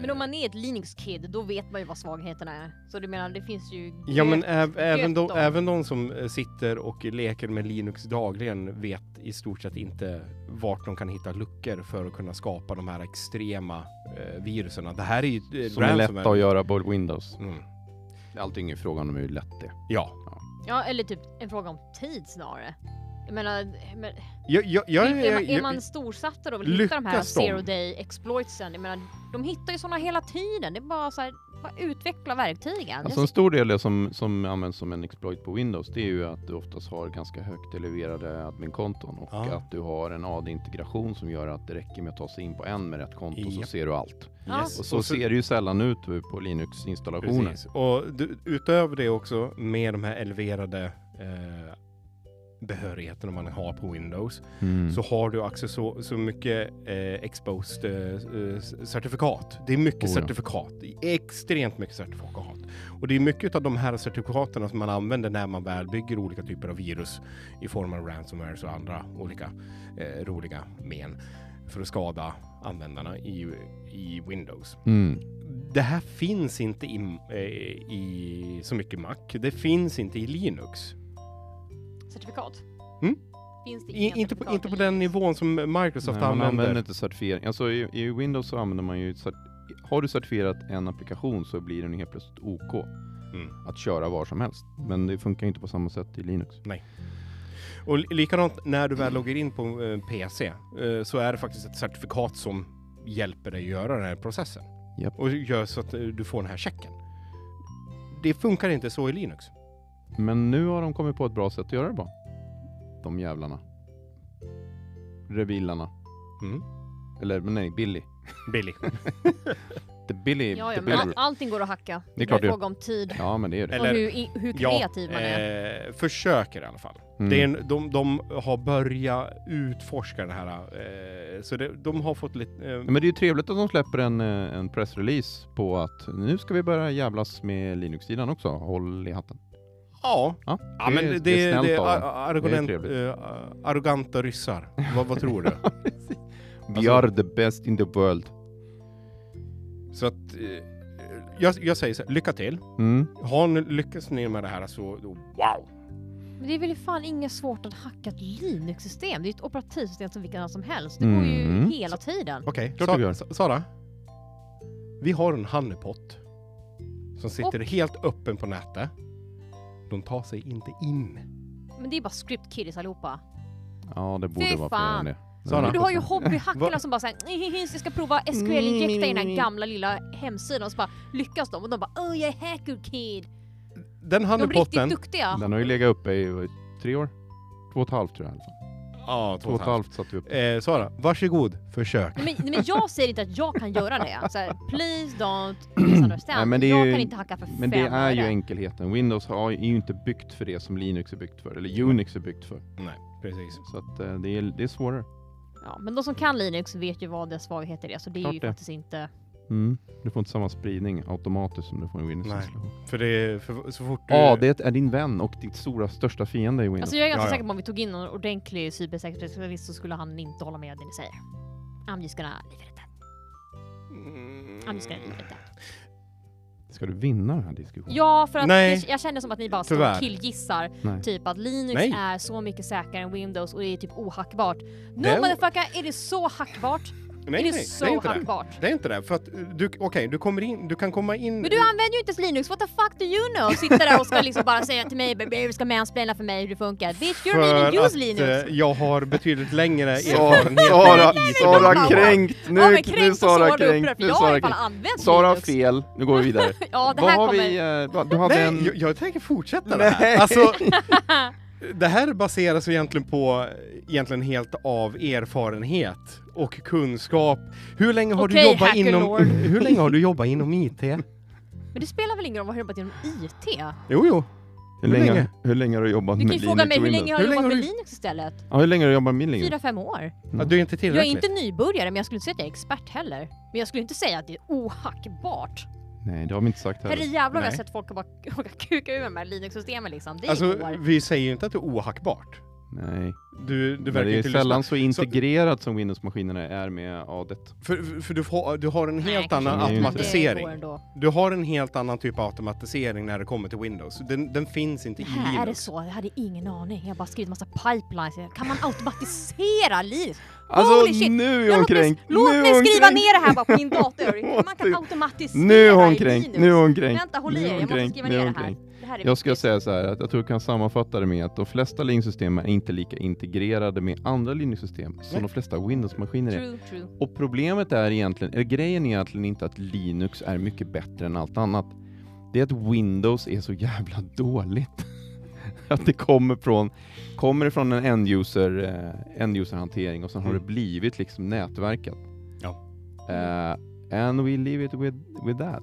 Men om man är ett Linux-kid, då vet man ju vad svagheterna är. Så du menar, det finns ju... Ja, men gröt- äv- även, de, dem. även de som eh, sitter och leker med Linux dagligen vet i stort sett inte vart de kan hitta luckor för att kunna skapa de här extrema eh, virusen. Det här är ju eh, Som är lätta ransomware. att göra på Windows. Mm. Allting är frågan om hur lätt det är. Ja, Ja, eller typ en fråga om tid snarare. Jag menar, men, jag, jag, jag, är, man, jag, är man jag, storsatt då och vill hitta de här lyckas de? zero day exploitsen? Jag menar, de hittar ju sådana hela tiden. Det är bara så här, bara utveckla verktygen. Alltså en stor del är som, som används som en exploit på Windows, det är ju att du oftast har ganska högt eleverade adminkonton och Ja. att du har en AD-integration som gör att det räcker med att ta sig in på en med rätt konto så Japp. ser du allt. Ja. yes. Och så, ser det ju sällan ut på Linux-installationer. Precis. Och du, utöver det också med de här eleverade eh, behörigheterna man har på Windows Mm. så har du också så, så mycket eh, exposed eh, eh, certifikat. Det är mycket Oh ja. certifikat, extremt mycket certifikat. Och det är mycket av de här certifikaten som man använder när man väl bygger olika typer av virus i form av ransomware och andra olika eh, roliga men för att skada användarna i, i Windows. Mm. Det här finns inte i, eh, i så mycket Mac. Det finns inte i Linux. Certifikat? Mm. Finns det I, inga inte, på, certifikat inte på eller- den nivån som Microsoft Nej, man använder. använder inte certifiering. Alltså i, i Windows så använder man ju, cert- har du certifierat en applikation så blir den helt plötsligt OK Mm. att köra var som helst. Men det funkar ju inte på samma sätt i Linux. Och li- likadant när du väl loggar in på en PC eh, så är det faktiskt ett certifikat som hjälper dig att göra den här processen. Japp. Och gör så att eh, du får den här checken. Det funkar inte så i Linux. Men nu har de kommit på ett bra sätt att göra det på. De jävlarna. Revillarna. Mm. Eller men nej, Billy. Billy. The Billy. Ja, the ja, men all, Billy. allting går att hacka. Typ Det är klart det är det. fråga om tid. ja, men det är det. Och Eller- hur, i, hur kreativ man är. eh, försöker i alla fall. Mm. Det är en, de, de har börjat utforska det här. Eh, så det, de har fått lite... Eh, Ja, Men det är ju trevligt att de släpper en, eh, en pressrelease på att nu ska vi börja jävlas med Linux-sidan också. Håll i hatten. ja. Ja, Ja, men det, det, snällt är av dem. ar- arrogant, trevligt. eh, arroganta ryssar. vad, vad tror du? We alltså- are the best in the world. Så att eh, jag, jag säger så här, lycka till. Mm. Har ni lyckats ni med det här så då, wow! Men det är väl i fan inget svårt att hacka ett Linux-system? Det är ju ett operativsystem som vilken annan som helst. Det går ju Mm. hela tiden. Okej, Klart Sa- du gör. Sa- Sara. Vi har en honeypot som sitter helt öppen på nätet. De tar sig inte in. Men det är bara script kiddies allihopa. Ja, det borde Fy vara fler än fan. det. Sara. Men du har ju 100%. hobbyhackarna Va? som bara såhär, jag ska prova SQL-injekta i den här gamla lilla hemsidan och så bara lyckas de och de bara oh jag är hacker kid. Den De är riktigt honeypotten, duktiga. Den har ju legat uppe i vad, tre år. Två och ett halvt tror jag i alla fall. Ja, Två och ett halvt satte vi upp. Eh, Sara, varsågod, försök. Nej, men, nej, men jag säger inte att jag kan göra det. Så här, please don't misunderstand. Nej, men det är jag ju- kan inte hacka för Men fem det är ju öre. enkelheten. Windows har, är ju inte byggt för det som Linux är byggt för, eller Unix är byggt för. Nej, precis. Så att eh, det, är, det är svårare. ja, Men de som kan Linux vet ju vad dess svagheter är, så det är Klart ju det. faktiskt inte... Mm. Du får inte samma spridning automatiskt som du får i Windows. Nej. installation. För det, för, så fort du... Ja, det är din vän och ditt stora, största fiende i Windows. Alltså jag är ganska Ja, ja. säker på om vi tog in någon ordentlig cybersäkerhetsspecialist så skulle han inte hålla med det ni säger. I'm just gonna leave it at that. I'm just gonna leave it Mm. at that. Ska du vinna den här diskussionen? Ja, för att Nej. jag, jag känner som att ni bara står Tyvärr. och killgissar. Nej. Typ att Linux Nej. är så mycket säkrare än Windows och det är typ ohackbart. No Det är- motherfucker, är det så hackbart? Nej, är det nej, så det är inte det. hackbart? Det är inte det, för att eh, du, okej, du kommer in, du kan komma in... Men du använder ju inte ens Linux, what the fuck do you know? Sitter där och ska liksom bara säga till mig, "Baby, du ska mansplaina för mig hur det funkar. Bitch, you're för mean and use att, Linux. eh, jag har betydligt längre Sara, erfarenhet Sara, i Sara men- sådana- kränkt! Nu, ja men nu är kränkt och Sara sårad och kränkt! upprörd, Nu för är jag har Sara i alla kränkt! fall använt Sara har Linux. fel, nu går vi vidare. Ja, det Vad här har kommer... vi... eh, vad- Du hade Nej, en... jag, jag tänker fortsätta det Nej. här. Alltså, det här baseras ju egentligen på, egentligen helt av erfarenhet och kunskap. Hur länge har Okej, du jobbat inom, hackerlord. hur länge har du jobbat inom IT? Men det spelar väl ingen roll vad du har jobbat inom IT? Jo, jo. Hur Hur länge, länge? hur länge har du jobbat Du med kan ju Linux fråga mig och hur Windows? länge har Hur jag länge jobbat har med du- Linux istället? Ja, hur länge har du jobbat med Linux? Fyra, fem år. Ja, du är Jag inte är tillräckligt. inte nybörjare, men jag skulle inte säga att jag är expert heller. Men jag skulle inte säga att det är ohackbart. Nej, det har vi inte sagt heller. Herrejävlar har jag Nej. sett folk bara åka kuka ur de här Linux-systemen liksom. Det Alltså, går. vi säger ju inte att det är ohackbart. Nej. Du, du Det, det verkar är inte lyssna. sällan så integrerat som Windows-maskinerna är med ADET. För, för du, får, du har en Nej, helt kanske annan inte. inte, men automatisering. Det går ändå. Du har en helt annan typ av automatisering när det kommer till Windows. Den, den finns inte i Linux. Här är det så, jag hade ingen aning. Jag har bara skrivit massa pipelines. Kan man automatisera Linux? Alltså shit! nu Ja, är hon låt mig, kränkt! låt nu är mig hon skriva kränkt. ner det här bara på min dator. Man kan Måste- automatisera Nu är hon i kränkt, Linux. nu är hon kränkt. Vänta, håll Nu i är er. hon Jag måste kränkt, skriva nu är ner hon det här. kränkt. Det här är Jag ska viktigt. säga så här att jag tror jag kan sammanfatta det med att de flesta Linux-system är inte lika integrerade med andra Linux-system som Nej. de flesta Windows-maskiner är. True, true. Och problemet är egentligen, eller grejen är egentligen inte att Linux är mycket bättre än allt annat. Det är att Windows är så jävla dåligt. att det kommer från, kommer ifrån en end-user, eh, end-user-hantering och sen har det Mm. blivit liksom nätverkat. Ja. Eh, and we leave it with, with that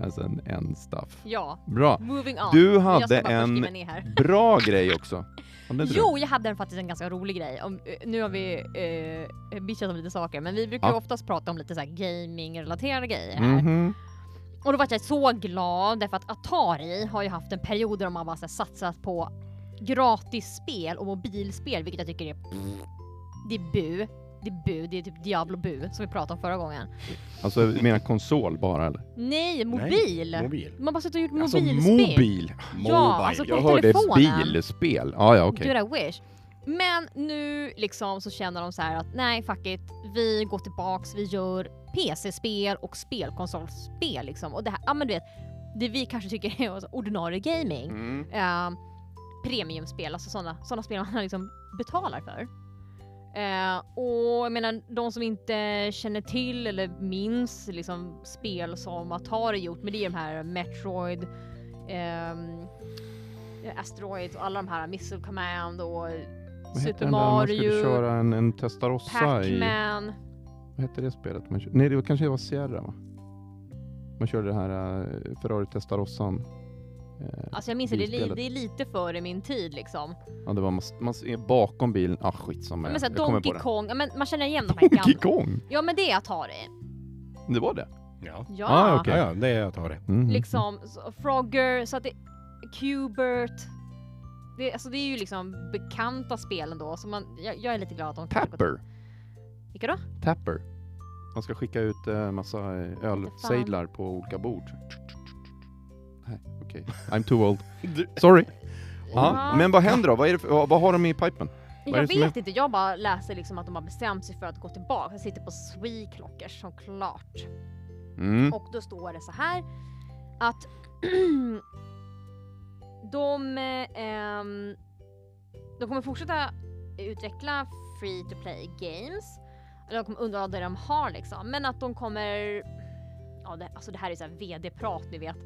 as an end stuff. Ja, Bra. moving on. Du jag ska hade bara först en skriva ner här. bra grej också. Hade inte du? Jo, jag hade en- faktiskt en ganska rolig grej. Om, eh, nu har vi eh, bitchat om lite saker, men vi brukar Ja. ju oftast prata om lite så här gaming-relaterade grejer här. Mhm. Och då var jag så glad därför att Atari har ju haft en period där de har bara så här, satsat på gratis spel och mobilspel, vilket jag tycker är... Det är bu. Det är bu. Det är typ Diablo bu, som vi pratade om förra gången. Alltså du menar konsol bara eller? Nej, mobil! Mobil. Man har bara suttit och gjort Alltså mobilspel. mobil! Ja, alltså på Jag hörde telefonen. bilspel. Ja, ja okej. Do that wish. Men nu liksom så känner de så här att nej fuck it, vi går tillbaks, vi gör PC-spel och spelkonsolspel liksom. Och det här, ja men du vet, det vi kanske tycker är ordinarie gaming. Mm. Eh, premiumspel, alltså sådana såna spel man liksom betalar för. Eh, och jag menar de som inte känner till eller minns liksom spel som Atari gjort, men det är de här Metroid, ehm, Asteroid och alla de här Missile Command och Vad heter den Super där man skulle Mario, köra en, en testarossa i... Pac-Man. Vad hette det spelet? Man kö- Nej, det var, kanske det var Sierra va? Man körde det här eh, Ferrari Testarossan. Eh, Alltså jag minns det, det, är li- bilspelet. det är lite före min tid liksom. ja, det var man, man ser bakom bilen. Ah skitsamma. Ja, men såhär jag kommer på Donkey det. Kong, ja, men man känner igen de här Donkey gamla. Kong? Ja men det är Atari. Det var det? Ja. Ja. Ah, okej. Ja, ja, det är jag tar det. Mm. liksom så- Frogger, så att det Cubert. Det, alltså det är ju liksom bekanta spel ändå, så man, jag, jag är lite glad att de kanske gått- Tapper. Vilka då? Tapper. Man ska skicka ut eh, massa eh, ölsejdlar på olika bord. Nej, okej. I'm too old. Du- Mm. Sorry. Ja. Men vad händer då? Vad, är det för, vad, vad har de i pipen? Vad är Jag det som vet inte, jag bara läser liksom att de har bestämt sig för att gå tillbaka. Jag sitter på Sweclockers som klart. Mm. Och då står det så här att de, eh, ehm, de kommer fortsätta utveckla free to play games. Eller de kommer undra det de har liksom. Men att de kommer, ja det, alltså det här är så här vd-prat ni vet.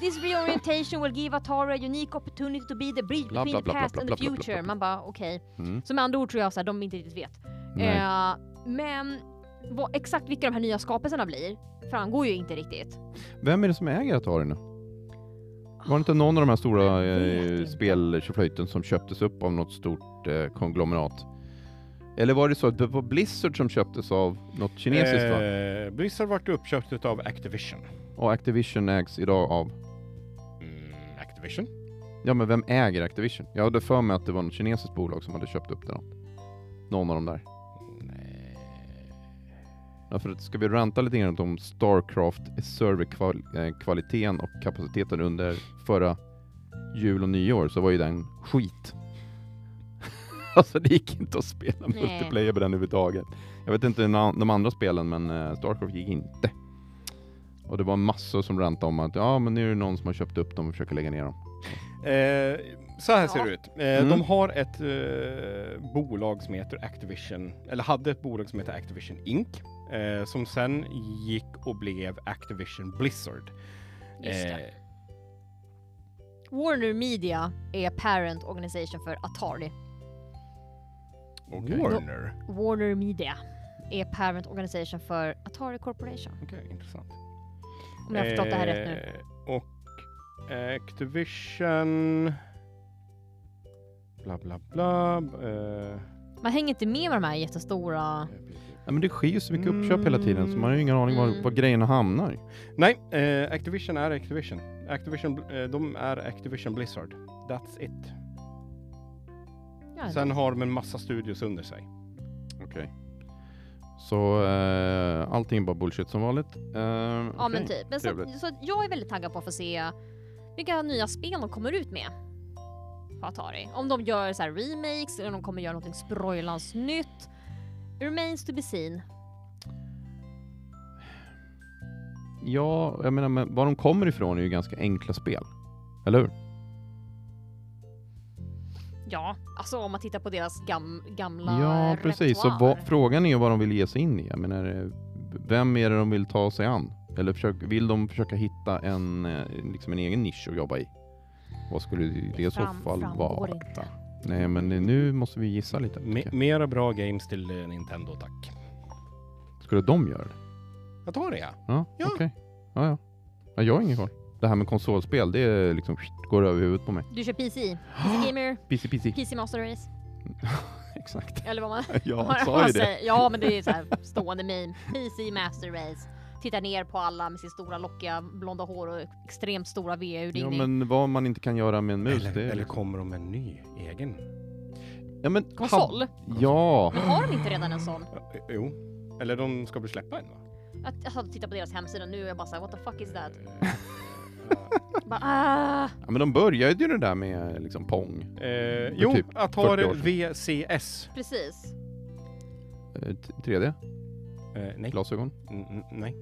This reorientation will give Atari a unique opportunity to be the bridge Bla, between bla, bla, the bla, past bla, and bla, the bla, bla, bla, future. bla. Man bara okej. Mm. Så med andra ord tror jag så här, de inte riktigt vet. Nej. Eh, men vad, exakt vilka de här nya skapelserna blir framgår ju inte riktigt. Vem är det som äger Atari nu? Var det inte någon av de här stora Jag vet eh, inte. speltjoflöjten som köptes upp av något stort eh, konglomerat? Eller var det så att det var Blizzard som köptes av något kinesiskt va? Eh, Blizzard vart uppköpt av Activision. Och Activision ägs idag av... Mm, Activision? Ja men vem äger Activision? Jag hade för mig att det var något kinesiskt bolag som hade köpt upp det. då. Någon av de där. Ja, för att ska vi ranta lite grann om Starcraft serverkvaliteten och kapaciteten under förra jul och nyår så var ju den skit. alltså det gick inte att spela Nej. multiplayer på den överhuvudtaget. Jag vet inte na- de andra spelen men eh, Starcraft gick inte. Och det var massor som rantade om att ja men nu är det någon som har köpt upp dem och försöker lägga ner dem. Eh, så här ser Ja. det ut. Eh, Mm. De har ett eh, bolag som heter Activision, eller hade ett bolag som heter Activision Inc. Eh, som sen gick och blev Activision Blizzard. Ah, Just det. Eh, Warner Media är parent organisation för Atari. Okej. Warner. Warner Media är parent organisation för Atari Corporation. Okej, intressant. Om jag har förstått det här rätt nu. Eh, Och Activision... Bla bla bla. Eh, Man hänger inte med med de här jättestora... Ja, men det sker ju så mycket uppköp hela tiden så man har ju ingen aning var, Mm. var grejerna hamnar. Nej, eh, Activision är Activision. Activision eh, de är Activision Blizzard. That's it. Ja, Sen har de en massa studios under sig. Så eh, allting är bara bullshit som vanligt. Eh, ja men okej. typ. Men så, trevligt. så att jag är väldigt taggad på att få se vilka nya spel de kommer ut med. På Atari. Om de gör så här remakes, eller om de kommer göra någonting sproilans nytt. Remains to be seen. Ja, jag menar, men var de kommer ifrån är ju ganska enkla spel. Eller hur? Ja, alltså om man tittar på deras gam, gamla Ja, precis. Så repertoar. vad, frågan är ju vad de vill ge sig in i. Jag menar, eh, vem är det de vill ta sig an? Eller försök, vill de försöka hitta en, eh, liksom en egen nisch att jobba i? Vad skulle det i så fram- fall framgår vara? inte. Nej, men eh, nu måste vi gissa lite. Me- tycker jag. mera bra games till eh, Nintendo, tack. Skulle de göra det? Jag tar det, ja. Ja, Ja. okej. Ja, ja. ja, jag har ingen koll. Det här med konsolspel, det är liksom, går över huvudet på mig. Du kör PC? PC Gamer? PC, PC. PC Master Race? Exakt. Eller vad man... Jag vad sa man ju det. säger. Ja, men det är så här stående meme. PC Master Race. Tittar ner på alla med sin stora lockiga blonda hår och extremt stora Ja, VU-urringning. men vad man inte kan göra med en mus, Eller, det är eller liksom... kommer de med en ny egen? Ja, men... Konsol? Ja! Men har de inte redan en sån? Ja, eh, Jo. Eller de ska väl släppa en, va? Att, jag satt och tittade på deras hemsida nu och jag bara såhär, what the fuck is that? Eh, Bara, ah, Ja, men de började ju det där med liksom Pong. eh, jo, typ Atari 40 VCS. precis. Eh, t- 3D, Eh, nej. glasögon. Mm, mm, nej.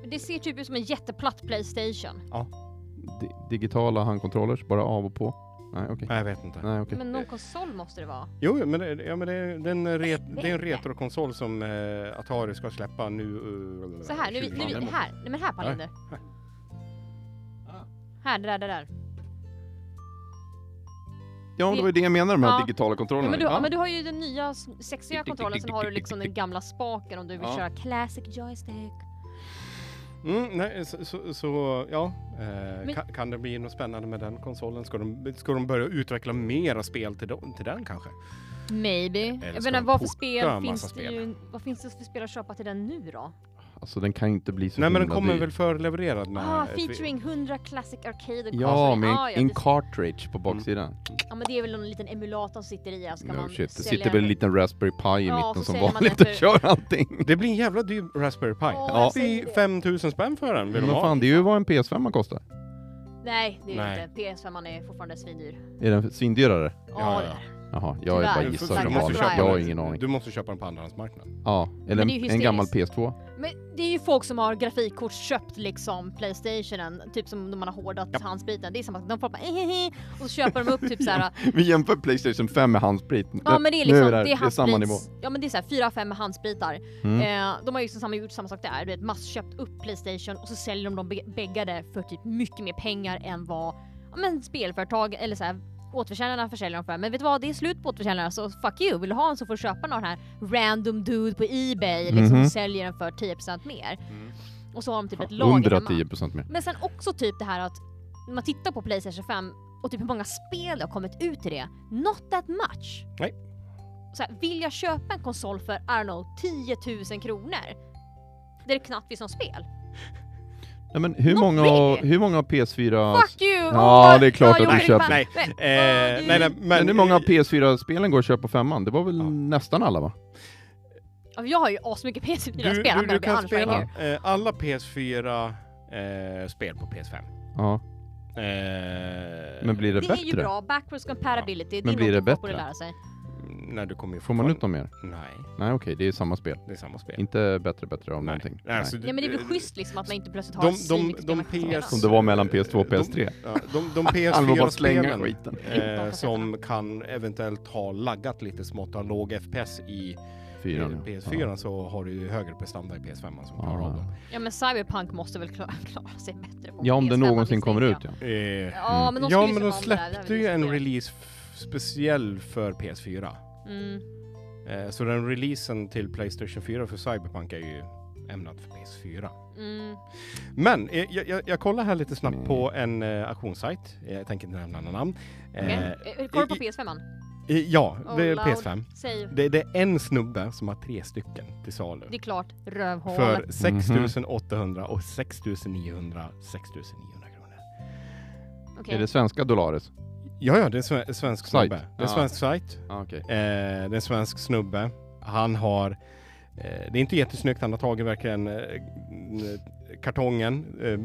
Men Det ser typ ut som en jätteplatt Playstation. Di- digitala handkontrollers, bara av och på. Nej, okej. Nej, jag vet inte. Nej, okej. Men någon konsol måste det vara. Jo, jo, men, det, ja, men det, det, är en re, det är en retrokonsol som eh, Atari ska släppa nu. eh, Så här, nu, 20. nu, här, nej men här Palinder. Här, det där, det där. Ja, men det var ju det jag menade, de här Ja. digitala Ja, kontrollerna. men, du, Ja. men du har ju den nya s- sexiga kontrollen, sen har du liksom den gamla spaken om du vill Ja. köra classic joystick. Mm, nej, så, så, så ja. Eh, Men- kan, kan det bli något spännande med den konsolen? Ska de, ska de börja utveckla mera spel till, dem- till den kanske? Maybe. ska Jag menar, de vad för porta spel en finns massa det spel? ju? Vad finns det för spel att köpa till den nu då? Alltså den kan ju inte bli så Nej, men den himla kommer dyr. väl förlevererad med... Ah, ett- featuring 100 classic arcade and Ja, console. med en, Ah, ja, en det- Mm. cartridge på baksidan. Ja men det är väl någon liten emulator som sitter i och så kan No man shit, det sälja sitter den. väl en liten Raspberry Pi i Ja, mitten så som säljer man vanligt den och för- kör allting. Det blir en jävla dyr Raspberry Pi. Åh, jag säger det. 5000 spänn för den vill Men de ha. fan, det är ju vad en PS5 man kostar. Nej, det är Nej. inte. PS5 är fortfarande svindyr. Ah, Är den svindyrare? Ja, Ja, det ja. är. Jaha, jag är bara Tyvärr. gissar Tyvärr. som Du måste vanligt. köpa Jag har den. ingen aning. Du måste köpa den på andrahandsmarknaden. Ja, eller Men det är ju en, en gammal hysteriskt. PS2. Men det är ju folk som har grafikkort köpt liksom Playstationen, typ som när man har hårdat handspriten. Det är samma sak, de får bara "Ehehe", och så köper de upp typ såhär Vi jämför Playstation 5 med handsprit. Ja men det är liksom, nu det är, det är samma nivå. handsprits- Ja men det är såhär fyra, fem handspritar. Mm. Eh, de har ju liksom samma, gjort samma sak där, du vet massköpt upp Playstation och så säljer de dem beg- bäggade för typ mycket mer pengar än vad ja, men spelföretag eller såhär återförsäljarna försäljer dem för. Men vet du vad, det är slut på återförsäljarna så fuck you, vill du ha en så får du köpa någon här random dude på Ebay liksom Mhm. Mm. och säljer den för 10% mer. Och så har de typ ett lager hemma. 110 procent mer. Men sen också typ det här att när man tittar på Playstation 5 och typ hur många spel det har kommit ut i det. Not that much. Nej. Så här, vill jag köpa en konsol för, I don't know, 10 000 kronor? Det är knappt finns något spel. Nej, men hur, Not många, really. hur många har PS4... Fuck you! Ja, Åh, det är klart jag att du gjorde köper. det. Nej. Men- Eh, Åh, nej, nej, du- men, Men hur många av PS4-spelen går att köpa på femman? Det var väl Ja. nästan alla va? Ja, Jag har ju asmycket PS4-spel. du, du, du kan spela here. eh, alla PS4 eh, spel på PS5. Ja. Eh, Men blir det, Det är bättre? ju bra, backwards compatibility. Men det är blir det något folk borde bättre? lära sig. Nej, du kommer ju Får man ut dem mer? fortfarande- Nej, Nej okej, det är samma spel. det är samma spel. Inte bättre bättre om Nej. någonting. Nej, alltså, Ja men det är väl eh, schysst liksom att man inte plötsligt har de- ett svinmycket de- spel man de kan spela. PS Som Alltså, det var mellan PS2 och PS3. Ja, de, de Han vill bara slänga PS4-spelen skiten. eh, som kan eventuellt ha laggat lite smått, ha låg FPS i Fyran, ja. PS4 så har du ju högre prestanda i PS5 som Ja. klarar av dem. Ja men Cyberpunk måste väl klara, klara sig bättre på Ja, om det PS5, någonsin misstänker kommer jag. ut ja. Eh, Ja men de ja, skulle men ju de se om det där, det släppte har vi ju en diskuterat. release f- speciell för PS4. Mm. Eh, så den releasen till Playstation 4 för Cyberpunk är ju ämnad för PS4. Mm. Men eh, jag, jag, jag kollar här lite snabbt Nej. på en eh, auktionssajt. Eh, Jag tänker inte nämna några namn. Eh, Okej. Eh, Kollar du i- på PS5? -an? eh, ja, Oh, det är loud. PS5. Säg. Det, det är en snubbe som har tre stycken till salu. Det är klart, rövhål. För 6 Mhm. 800 och 6 900, 6 900 kronor. Okej. Är det svenska dollares? Ja, ja, det är en sve- svensk Sajt. snubbe. Det är Ja. en svensk sajt. Ah, okej. Eh, det är en svensk snubbe. Han har... Eh, det är inte jättesnyggt. Han har tagit verkligen eh, n- kartongen eh,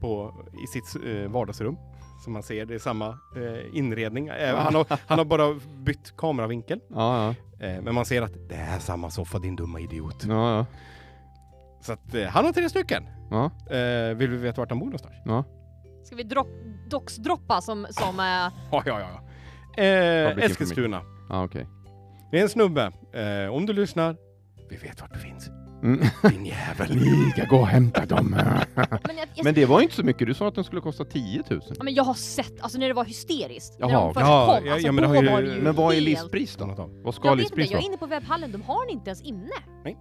på, i sitt eh, vardagsrum. Som man ser, det är samma eh, inredning. Eh, han, har, han har bara bytt kameravinkel. Ja, ja. Eh, men man ser att det är samma soffa din dumma idiot. Ja, ja. Så att, eh, han har tre stycken. Ja. Eh, vill vi veta vart han bor någonstans? Ska vi dropp, docksdroppa som, som eh, Ja, ja, ja. ja. Eh, Public Eskilstuna. Ah, okej. Det är en snubbe. Eh, om du lyssnar, vi vet vart du finns. Mm. Din jävel. Ni ska gå och hämta dem. men, jag, jag, Men det var inte så mycket. Du sa att den skulle kosta 10 000. ja, men jag har sett, alltså när det var hysteriskt. när Jaha, de först ja, kom, ja, alltså ja, men då det har ju- var det ju Men vad är helt- listpris då? Vad ska Jag vet inte, listpris jag vara? är inne på webbhallen, de har den inte ens inne.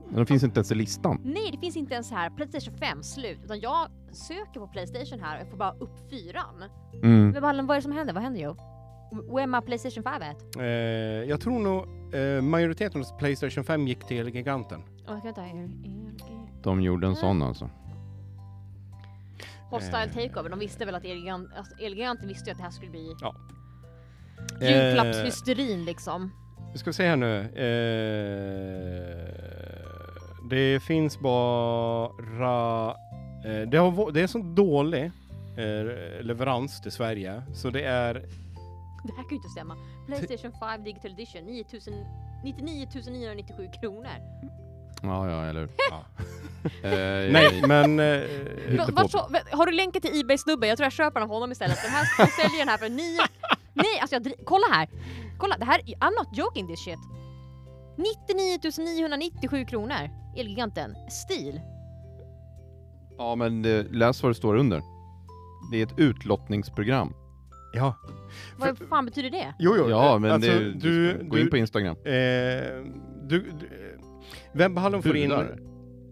Den finns inte ens i listan. Nej, det finns inte ens här Playstation 5 slut, utan jag söker på Playstation här och jag får bara upp fyran. Mm. Webbhallen, vad är det som händer? Vad händer Joe? Where my Playstation 5 at? Eh, jag tror nog eh, majoriteten av Playstation 5 gick till Giganten. Oh, jag kan inte ha er- er- De gjorde en sån alltså. Hostile Eh. takeover, de visste väl att Elgigant, alltså Elgiganten visste ju att det här skulle bli Ja. Eh. julklappshysterin liksom. Vi ska se här nu. Eh, det finns bara... Eh, det, har, va- det är så dålig eh, leverans till Sverige, så det är Eh. Det här kan ju inte stämma. Playstation 5 Digital Edition 9000 99 997 kronor. Ja, ja, eller hur? Ja. Eh, Nej, men... Hitta Eh, på. Vart så, har du länken till Ebay-snubben? Jag tror jag köper den av honom istället. Den här jag säljer den här för 9... Nej, alltså jag dri- Kolla här! Kolla, det här... I'm not joking this shit. 99 997 kronor. Elgiganten. Stil. Ja, men eh, läs vad det står under. Det är ett utlottningsprogram. ja. Vad fan betyder det? Jo, jo. Ja, eh, men alltså, det, du, gå in på Instagram. Eh, du, du, eh, Webbhallen får in... Budar.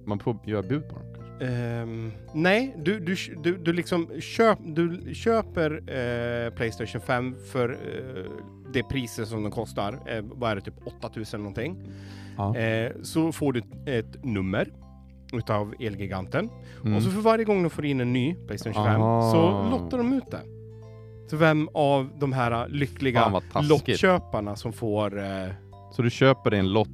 Man får göra bud på dem. kanske. ehm, nej, du, du, du, du liksom köp, du köper eh, Playstation 5 för eh, det priset som den kostar. Eh, vad är det, typ 8000 någonting. Ja. Eh, så får du ett- ett nummer utav Elgiganten. Mm. Och så för varje gång de får in en ny Playstation 5 Ah. så lottar de ut det. Så vem av de här Fan lyckliga vad taskigt. lottköparna som får... Eh, Så du köper dig en lott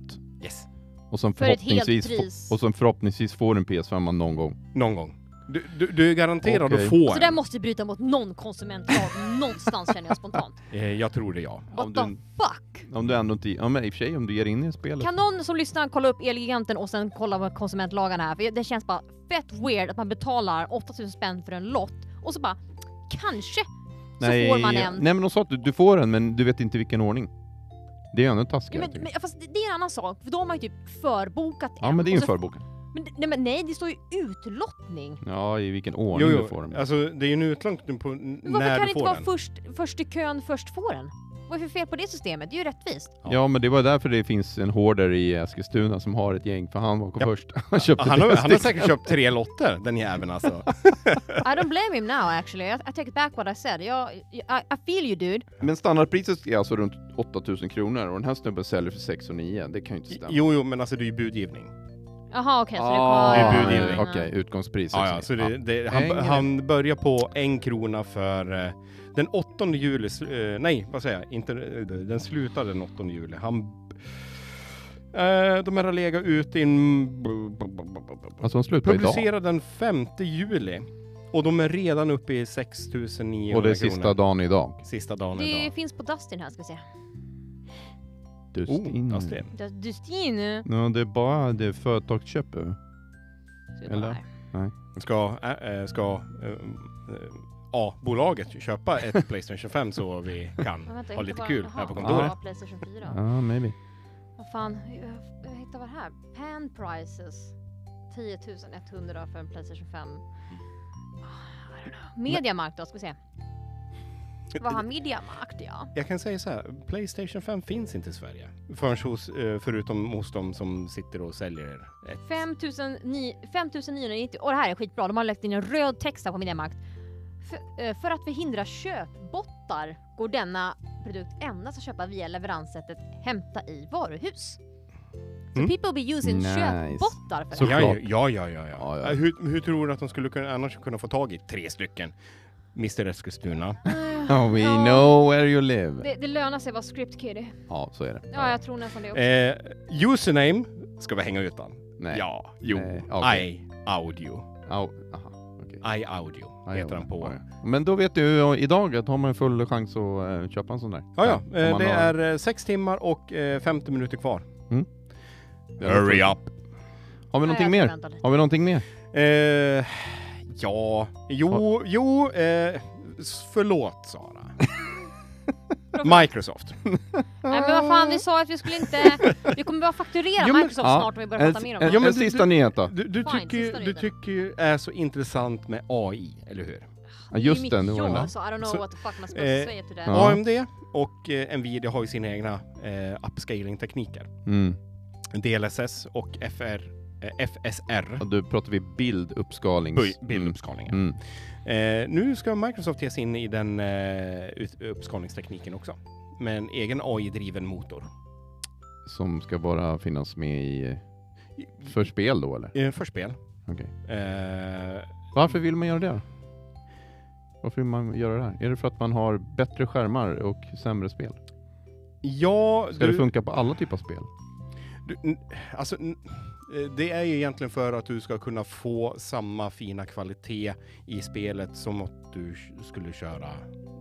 yes. och sen För ett helt förhoppningsvis, pris. och sen förhoppningsvis får du en PS5 någon gång. Någon gång. Du, du, du är garanterad Okej. att få Så där en. måste vi bryta mot någon konsumentlag någonstans känner jag spontant. Eh, jag tror det, ja. What Om the du- fuck? Om du ändå inte... Ja men i och för sig om du ger in i spelet. Kan någon som lyssnar kolla upp Elgiganten och sen kolla vad konsumentlagarna är? För det känns bara fett weird att man betalar 8000 spänn för en lott och så bara kanske så får man en. Nej men de sa att du, du får en men du vet inte i vilken ordning. Det är ju ännu Ja, taskigare. men, tycker men, jag. fast det det är en annan sak, för då har man ju typ förbokat Ja en, men det är ju och en så- förboken. Men, nej, men nej, det står ju utlottning. Ja i vilken ordning Jo, du får jo. dem. Alltså, det är ju en utlångning på n- Men varför när kan det inte du får vara den. först, först i kön först får den? Vad är det för fel på det systemet? Det är ju rättvist. Ja. men det var därför det finns en hoarder i Eskilstuna som har ett gäng för han var Ja. först. Han köpte Ah, Han har, deras han har stycken. säkert köpt tre lotter, den jäveln alltså. I don't blame him now actually. I, I take back what I said. Jag, I, I feel you dude. Men standardpriset är alltså runt 8000 kronor och den här snubben säljer för 6 och 9. Det kan ju inte stämma. Jo, jo, men alltså det är ju budgivning. Jaha okej, så Ah, Det det är kommer... budgivning. Okej, utgångspris. Ja, också. ja, så det, det, Hänger han, det? han börjar på en krona för eh, den 8 juli, sl- eh, nej vad säger jag, inte, eh, den slutar den 8 juli. Han, eh, de här har legat ute i en... Alltså de slutar idag. Publicerade den 5 juli och de är redan uppe i 6900 Och det är kronor. sista dagen idag. sista dagen Det idag. finns på Dustin här ska vi se. Dustin. Oh, Astrid. Du- Dustin. Så Ja, det är bara det företaget köper. det är Eller? bara här. Ska, äh, äh, ska äh, äh, A-bolaget köpa ett Playstation 5 så vi kan Men vänta, jag ha hittar lite bara- kul Jaha, här på ja, kontoret? Ja, Playstation 4. Ja, maybe. Vad fan, jag, jag hittar vad det här. Pan prices. 10 100 för en Playstation 5. Ah, I don't know. Mediamarkt då, ska vi se. Vad har Mediamarkt ja? Jag kan säga så här, Playstation 5 finns inte i Sverige. Förrän hos, eh, förutom hos de som sitter och säljer ett. 5990 5990. Och det här är skitbra, de har lagt in en röd text här på Mediamarkt. För, eh, för att förhindra köpbottar går denna produkt endast att köpa via leveranssättet hämta i varuhus. So Mm. people be using Nice. köpbottar för Så- det här. Ja, ja, Såklart. ja, ja, ja. Ja, ja. Eh, Hur, hur tror du att de skulle kunna, annars kunna få tag i tre stycken? Mr Eskilstuna. Oh, we Ja. know where you live. Det, det lönar sig att vara script kiddy. Ja, så är det. Ja, jag tror nästan det också. Eh, username ska vi hänga ut den. Nej. Ja, jo. Nej, okej. I audio. Au, aha, okej. I audio Ja, heter ja, den på. ja, ja. Men då vet du ja, idag att har man full chans att eh, köpa en sån där. Ja, ja. om Eh, man Det har- är eh, sex timmar och eh, 50 minuter kvar. det är- up! Har vi Ja, någonting jag mer? förväntar lite. Har vi någonting mer? Eh, ja, jo, jo, eh, s- förlåt Sara. Microsoft. Nej men vad fan, vi sa att vi skulle inte... Vi kommer behöva fakturera Jo, men- Microsoft ja, Eh, snart om vi börjar En, prata mer om en, det. men en du- sista nyhet då. Du, du, Fine, sista tycker, ju- du nyheten. tycker ju är så intressant med AI, eller hur? Ja, Just det, nu var det det. är där. mitt jobb, så I don't know Så- what the fuck man ska eh, säga till det. Ja. AMD och eh, Nvidia har ju sina egna eh, upscaling-tekniker. Mm. DLSS och FR, eh, FSR. Och då pratar vi bilduppskalnings... Böj- Bilduppskalningen. Mm. Mm. Eh, nu ska Microsoft ge sig in i den eh, ut- uppskalningstekniken också. Med en egen AI-driven motor. Som ska bara finnas med i... eh, För spel då eller? Eh, för spel. Okej. Eh, Varför vill man göra det? då? Varför vill man göra det här? Är det för att man har bättre skärmar och sämre spel? ja, Ska det funka på alla typer av spel? Du, n- alltså, n- eh, det är ju egentligen för att du ska kunna få samma fina kvalitet i spelet som att du sh- skulle köra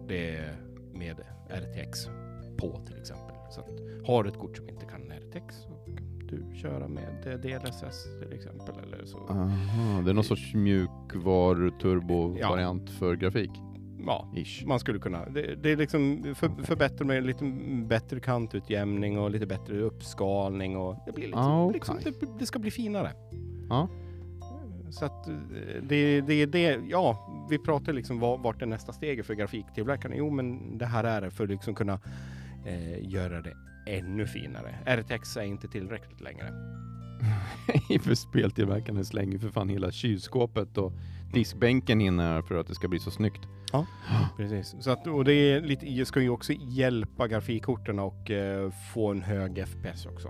det med RTX på till exempel. Så att, har du ett kort som inte kan RTX så kan du köra med eh, DLSS till exempel eller så. Aha, det är någon sorts mjukvaru-turbo-variant för grafik? Ja, Ish. man skulle kunna. Det, det är liksom för, förbättra med lite bättre kantutjämning och lite bättre uppskalning och det blir liksom, Ah, okej. liksom det, det ska bli finare. Ja. Så att eh, det, det är det, ja, vi pratar liksom vad, vart är nästa steget för grafiktillverkarna? Jo, men det här är det för att liksom kunna eh, göra det ännu finare. RTX är inte tillräckligt längre. för speltillverkarna slänger för fan hela kylskåpet och diskbänken in här för att det ska bli så snyggt. Precis. Så att, och det är lite, ska ju också hjälpa grafikkorten och eh, få en hög FPS också.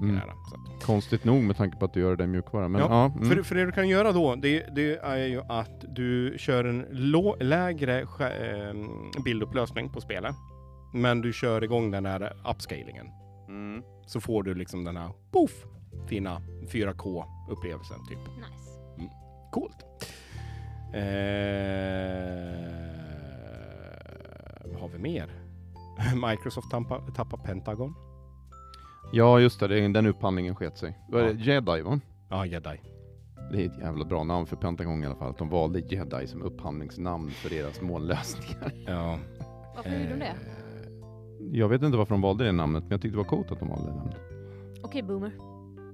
Mm. Nära. Så att, Konstigt nog med tanke på att du gör det i mjukvara. Men, ja, Ja, mm. För, för det du kan göra då, det, det är ju att du kör en lå, lägre skär, bildupplösning på spelet. Men du kör igång den här upscalingen. Mm. Så får du liksom den här poff, fina 4K-upplevelsen typ. Nice. Coolt. Eh, vad har vi mer? Microsoft tampa, tappar Pentagon. Ja, just det. det- Den upphandlingen sket sig. Var det Ja. Jedi, va? Ja, Jedi. Det är ett jävla bra namn för Pentagon i alla fall. Att de valde Jedi som upphandlingsnamn för deras molnlösningar. Ja. eh, Varför gjorde Eh. de det? Jag vet inte varför de valde det namnet, men jag tyckte det var coolt att de valde det namnet. Okej boomer.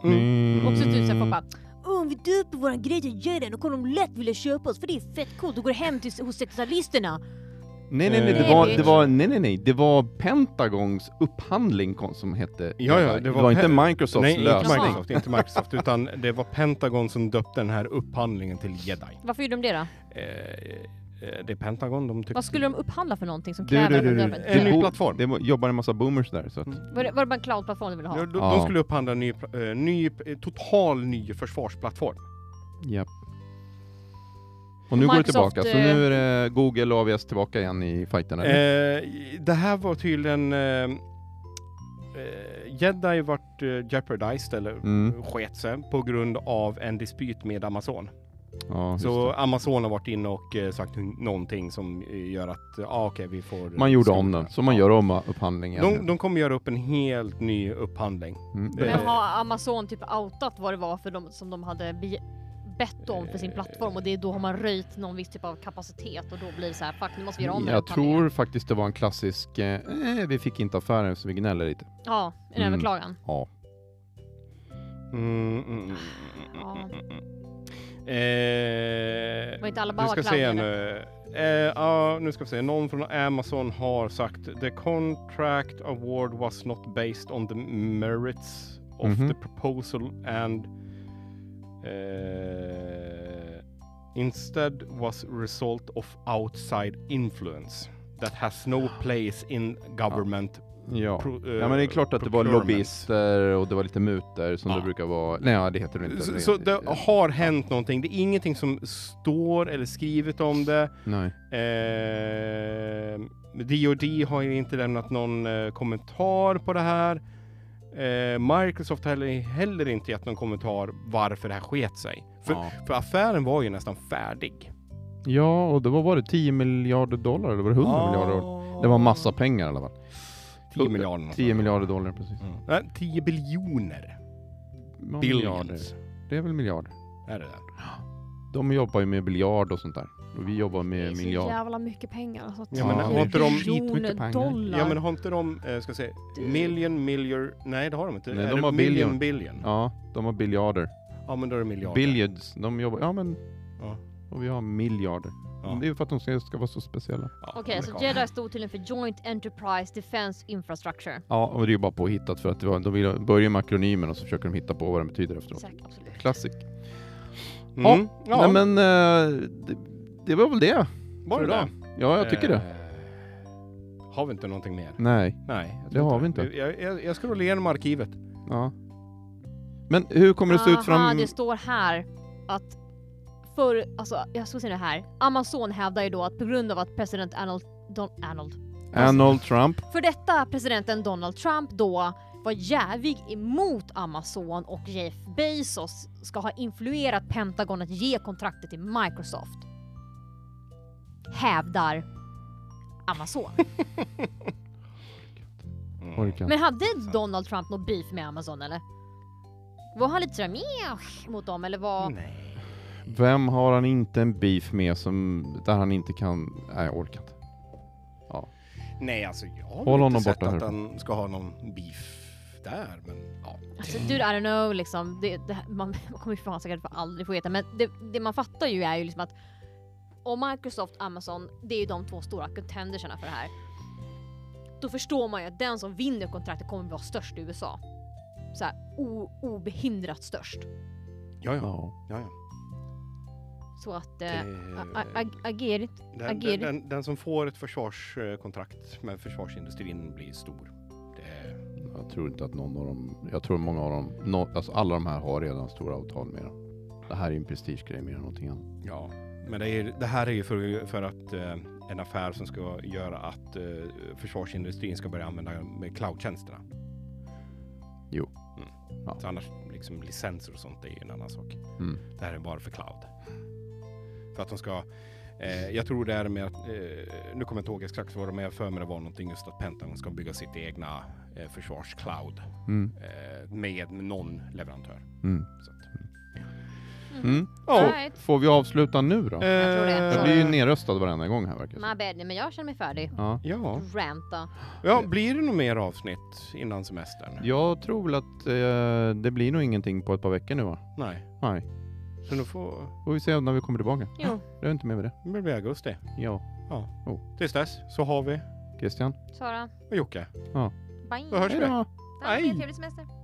Mm. Också typ såhär folk bara "Åh, om vi döper våran grej till Jedi då kommer de lätt vilja köpa oss för det är fett coolt och går hem till, hos sexualisterna. Nej, nej, nej. Det Eh, var, bitch. det var, nej, nej, nej. Det var Pentagons upphandling kon- som hette Ja, ja, Jedi. det det var var, inte Pe- Microsofts Nej, inte lösning. Jaha. Microsoft, inte Microsoft, utan det var Pentagon som döpte den här upphandlingen till Jedi. Varför gjorde de det då? Eh, eh, det är Pentagon, de tyckte... Vad skulle de upphandla för någonting som Du, du, kräver du, en du. nödvändig- En Det ny bo- plattform. Det var- jobbar en massa boomers där, så att... Mm. Var det, var det bara en cloud-plattform du ville ha? Ja, de, Ja. de skulle upphandla en ny, pla- eh, ny, eh, total ny försvarsplattform. Japp. Och nu går det Microsoft, eh, tillbaka, så nu är det Google och AWS tillbaka igen i fighten. Eh, eller? det här var tydligen... Eh, eh, Jedi vart eh, jeopardized, eller Mm. sket sig, på grund av en dispyt med Amazon. Ja, just Så det. Amazon har varit inne och eh, sagt n- någonting som eh, gör att, eh, ah, okej, vi får... Man gjorde skrota om den, här. så man Ja. gör om upphandlingen. De, eh, de kommer göra upp en helt ny upphandling. Mm. det- Men har Amazon typ outat vad det var för de, som de hade be- bett om för sin Eh. plattform och det är då har man röjt någon viss typ av kapacitet och då blir det så här fuck nu måste vi göra om den här Mm, Jag upphandlingen." tror faktiskt det var en klassisk, eh, eh, vi fick inte affären så vi gnäller lite. Ja, en Mm. överklagan. Ja. Mm, mm, mm, Ja. mm, mm, mm. Eh, Var inte alla bara vi ska clown, se eller? nu. Eh, ja, nu ska vi se. Någon från Amazon har sagt the contract award was not based on the merits of Mhm. the proposal and eh, instead was result of outside influence that has no place in government. Ja. pro- eh, ja, men det är klart att det var procurement. lobbyister och det var lite mutor som Ja. det brukar vara. Nej, ja, det heter det inte. Så, Det- ah. så det har hänt någonting. Det är ingenting som står eller skrivet om det. Nej. Eh, DoD har ju inte lämnat någon eh, kommentar på det här. Eh, Microsoft har heller, heller inte gett någon kommentar varför det här sket sig. För, Ja. för affären var ju nästan färdig. ja, och då var- var det 10 miljarder dollar eller var det 100 miljarder dollar? Det var massa pengar i alla fall. 10 miljarder. 10 miljarder dollar precis. Mm. Nej, 10 biljoner. Ja, miljarder. Billions. Det är väl miljarder. Är det det? De jobbar ju med biljard och sånt där. Och eh, vi jobbar med miljard. jävla mycket pengar. Alltså, Ja, men tio har inte de biljoner skitmycket pengar? dollar. Ja men har inte de, eh, ska jag säga, million, million, nej det har de inte. Nej, är de det har million, billion. Ja. Ja, de har biljarder. men då är det miljarder. Billiards, de jobbar... Ja men... Ja. Och vi har miljarder. Ja. Det är ju för att de ska, ska vara så speciella. Ja, Okej, så amerikaner. Jedi stod tydligen för Joint Enterprise Defense Infrastructure. Ja, och det är ju bara påhittat för att det var, de vill börja med akronymen och så försöker de hitta på vad den betyder efteråt. Säkert, absolut. Classic. Mm. Ja, Nej men, eh, det, det var väl det. var det för det? idag. Ja, jag tycker det. Eh, Har vi inte någonting mer? Nej. Nej, jag Det tror har vi inte. Jag, jag, jag scrollar igenom arkivet. Ja. Men hur kommer det se ut Aha, fram... det står här att för, alltså jag ska se det här. Amazon hävdar ju då att på grund av att president Arnold, Don, Arnold Arnold Trump? för detta presidenten Donald Trump då var jävig emot Amazon och Jeff Bezos ska ha influerat Pentagon att ge kontraktet till Microsoft. Hävdar Amazon. Mm. Orkar. Men hade Donald Trump något beef med Amazon eller? Var han lite sådär meh mot dem eller var... Nej. Vem har han inte en beef med som, där han inte kan... Nej, jag orkar inte. Nej, alltså jag har Håll inte honom sett borta att här. han ska ha någon beef där, men ja. Alltså, dude, I don't know, liksom. Det, det, här- man, man kommer ju fan säkert för aldrig få veta, men det, det man fattar ju är ju liksom att och Microsoft Amazon, det är ju de två stora contendersarna för det här. Då förstår man ju att den som vinner kontraktet kommer vara störst i USA. Så här, o, obehindrat störst. Ja, ja. Ja. ja, ja. Så att... Eh, a- a- Det, ag- agerit. den, ager- den, den, den som får ett försvarskontrakt med försvarsindustrin blir stor. Det, Jag tror inte att någon av dem... Jag tror många av dem... No, alltså alla de här har redan stora avtal med dem. Det här är ju en prestigegrej mer än någonting annat. ja, men det, är, det här är ju för, för att eh, en affär som ska göra att eh, försvarsindustrin ska börja använda med cloudtjänsterna. Jo. Mm. Ja. Så annars, liksom licenser och sånt, det är ju en annan sak. Mm. Det här är bara för cloud. För att de ska... Eh, jag tror det är med att... Eh, nu kommer jag inte ihåg exakt vad de är för mig det var någonting just att Pentagon ska bygga sitt egna eh, försvarscloud Mm. eh, med någon leverantör. Mm. Så att, Mm. Ja. Right. Får vi avsluta nu då? Jag tror det. Eh, Jag blir ju nerröstad varenda gång här verkar det My som. bad, nej, men jag känner mig färdig. Ja. Ja. Ranta. ja, blir det nog mer avsnitt innan semestern? Jag tror väl att eh, det blir nog ingenting på ett par veckor nu va? Nej. Nej. Så då får... Får vi se när vi kommer tillbaka. Jo, Jag är inte med med det. Det blir det augusti. Ja. Tills dess så har vi Christian? Sara. och Jocke. Bye. Då hörs Hej vi. då! Tack, Hej. Trevlig semester.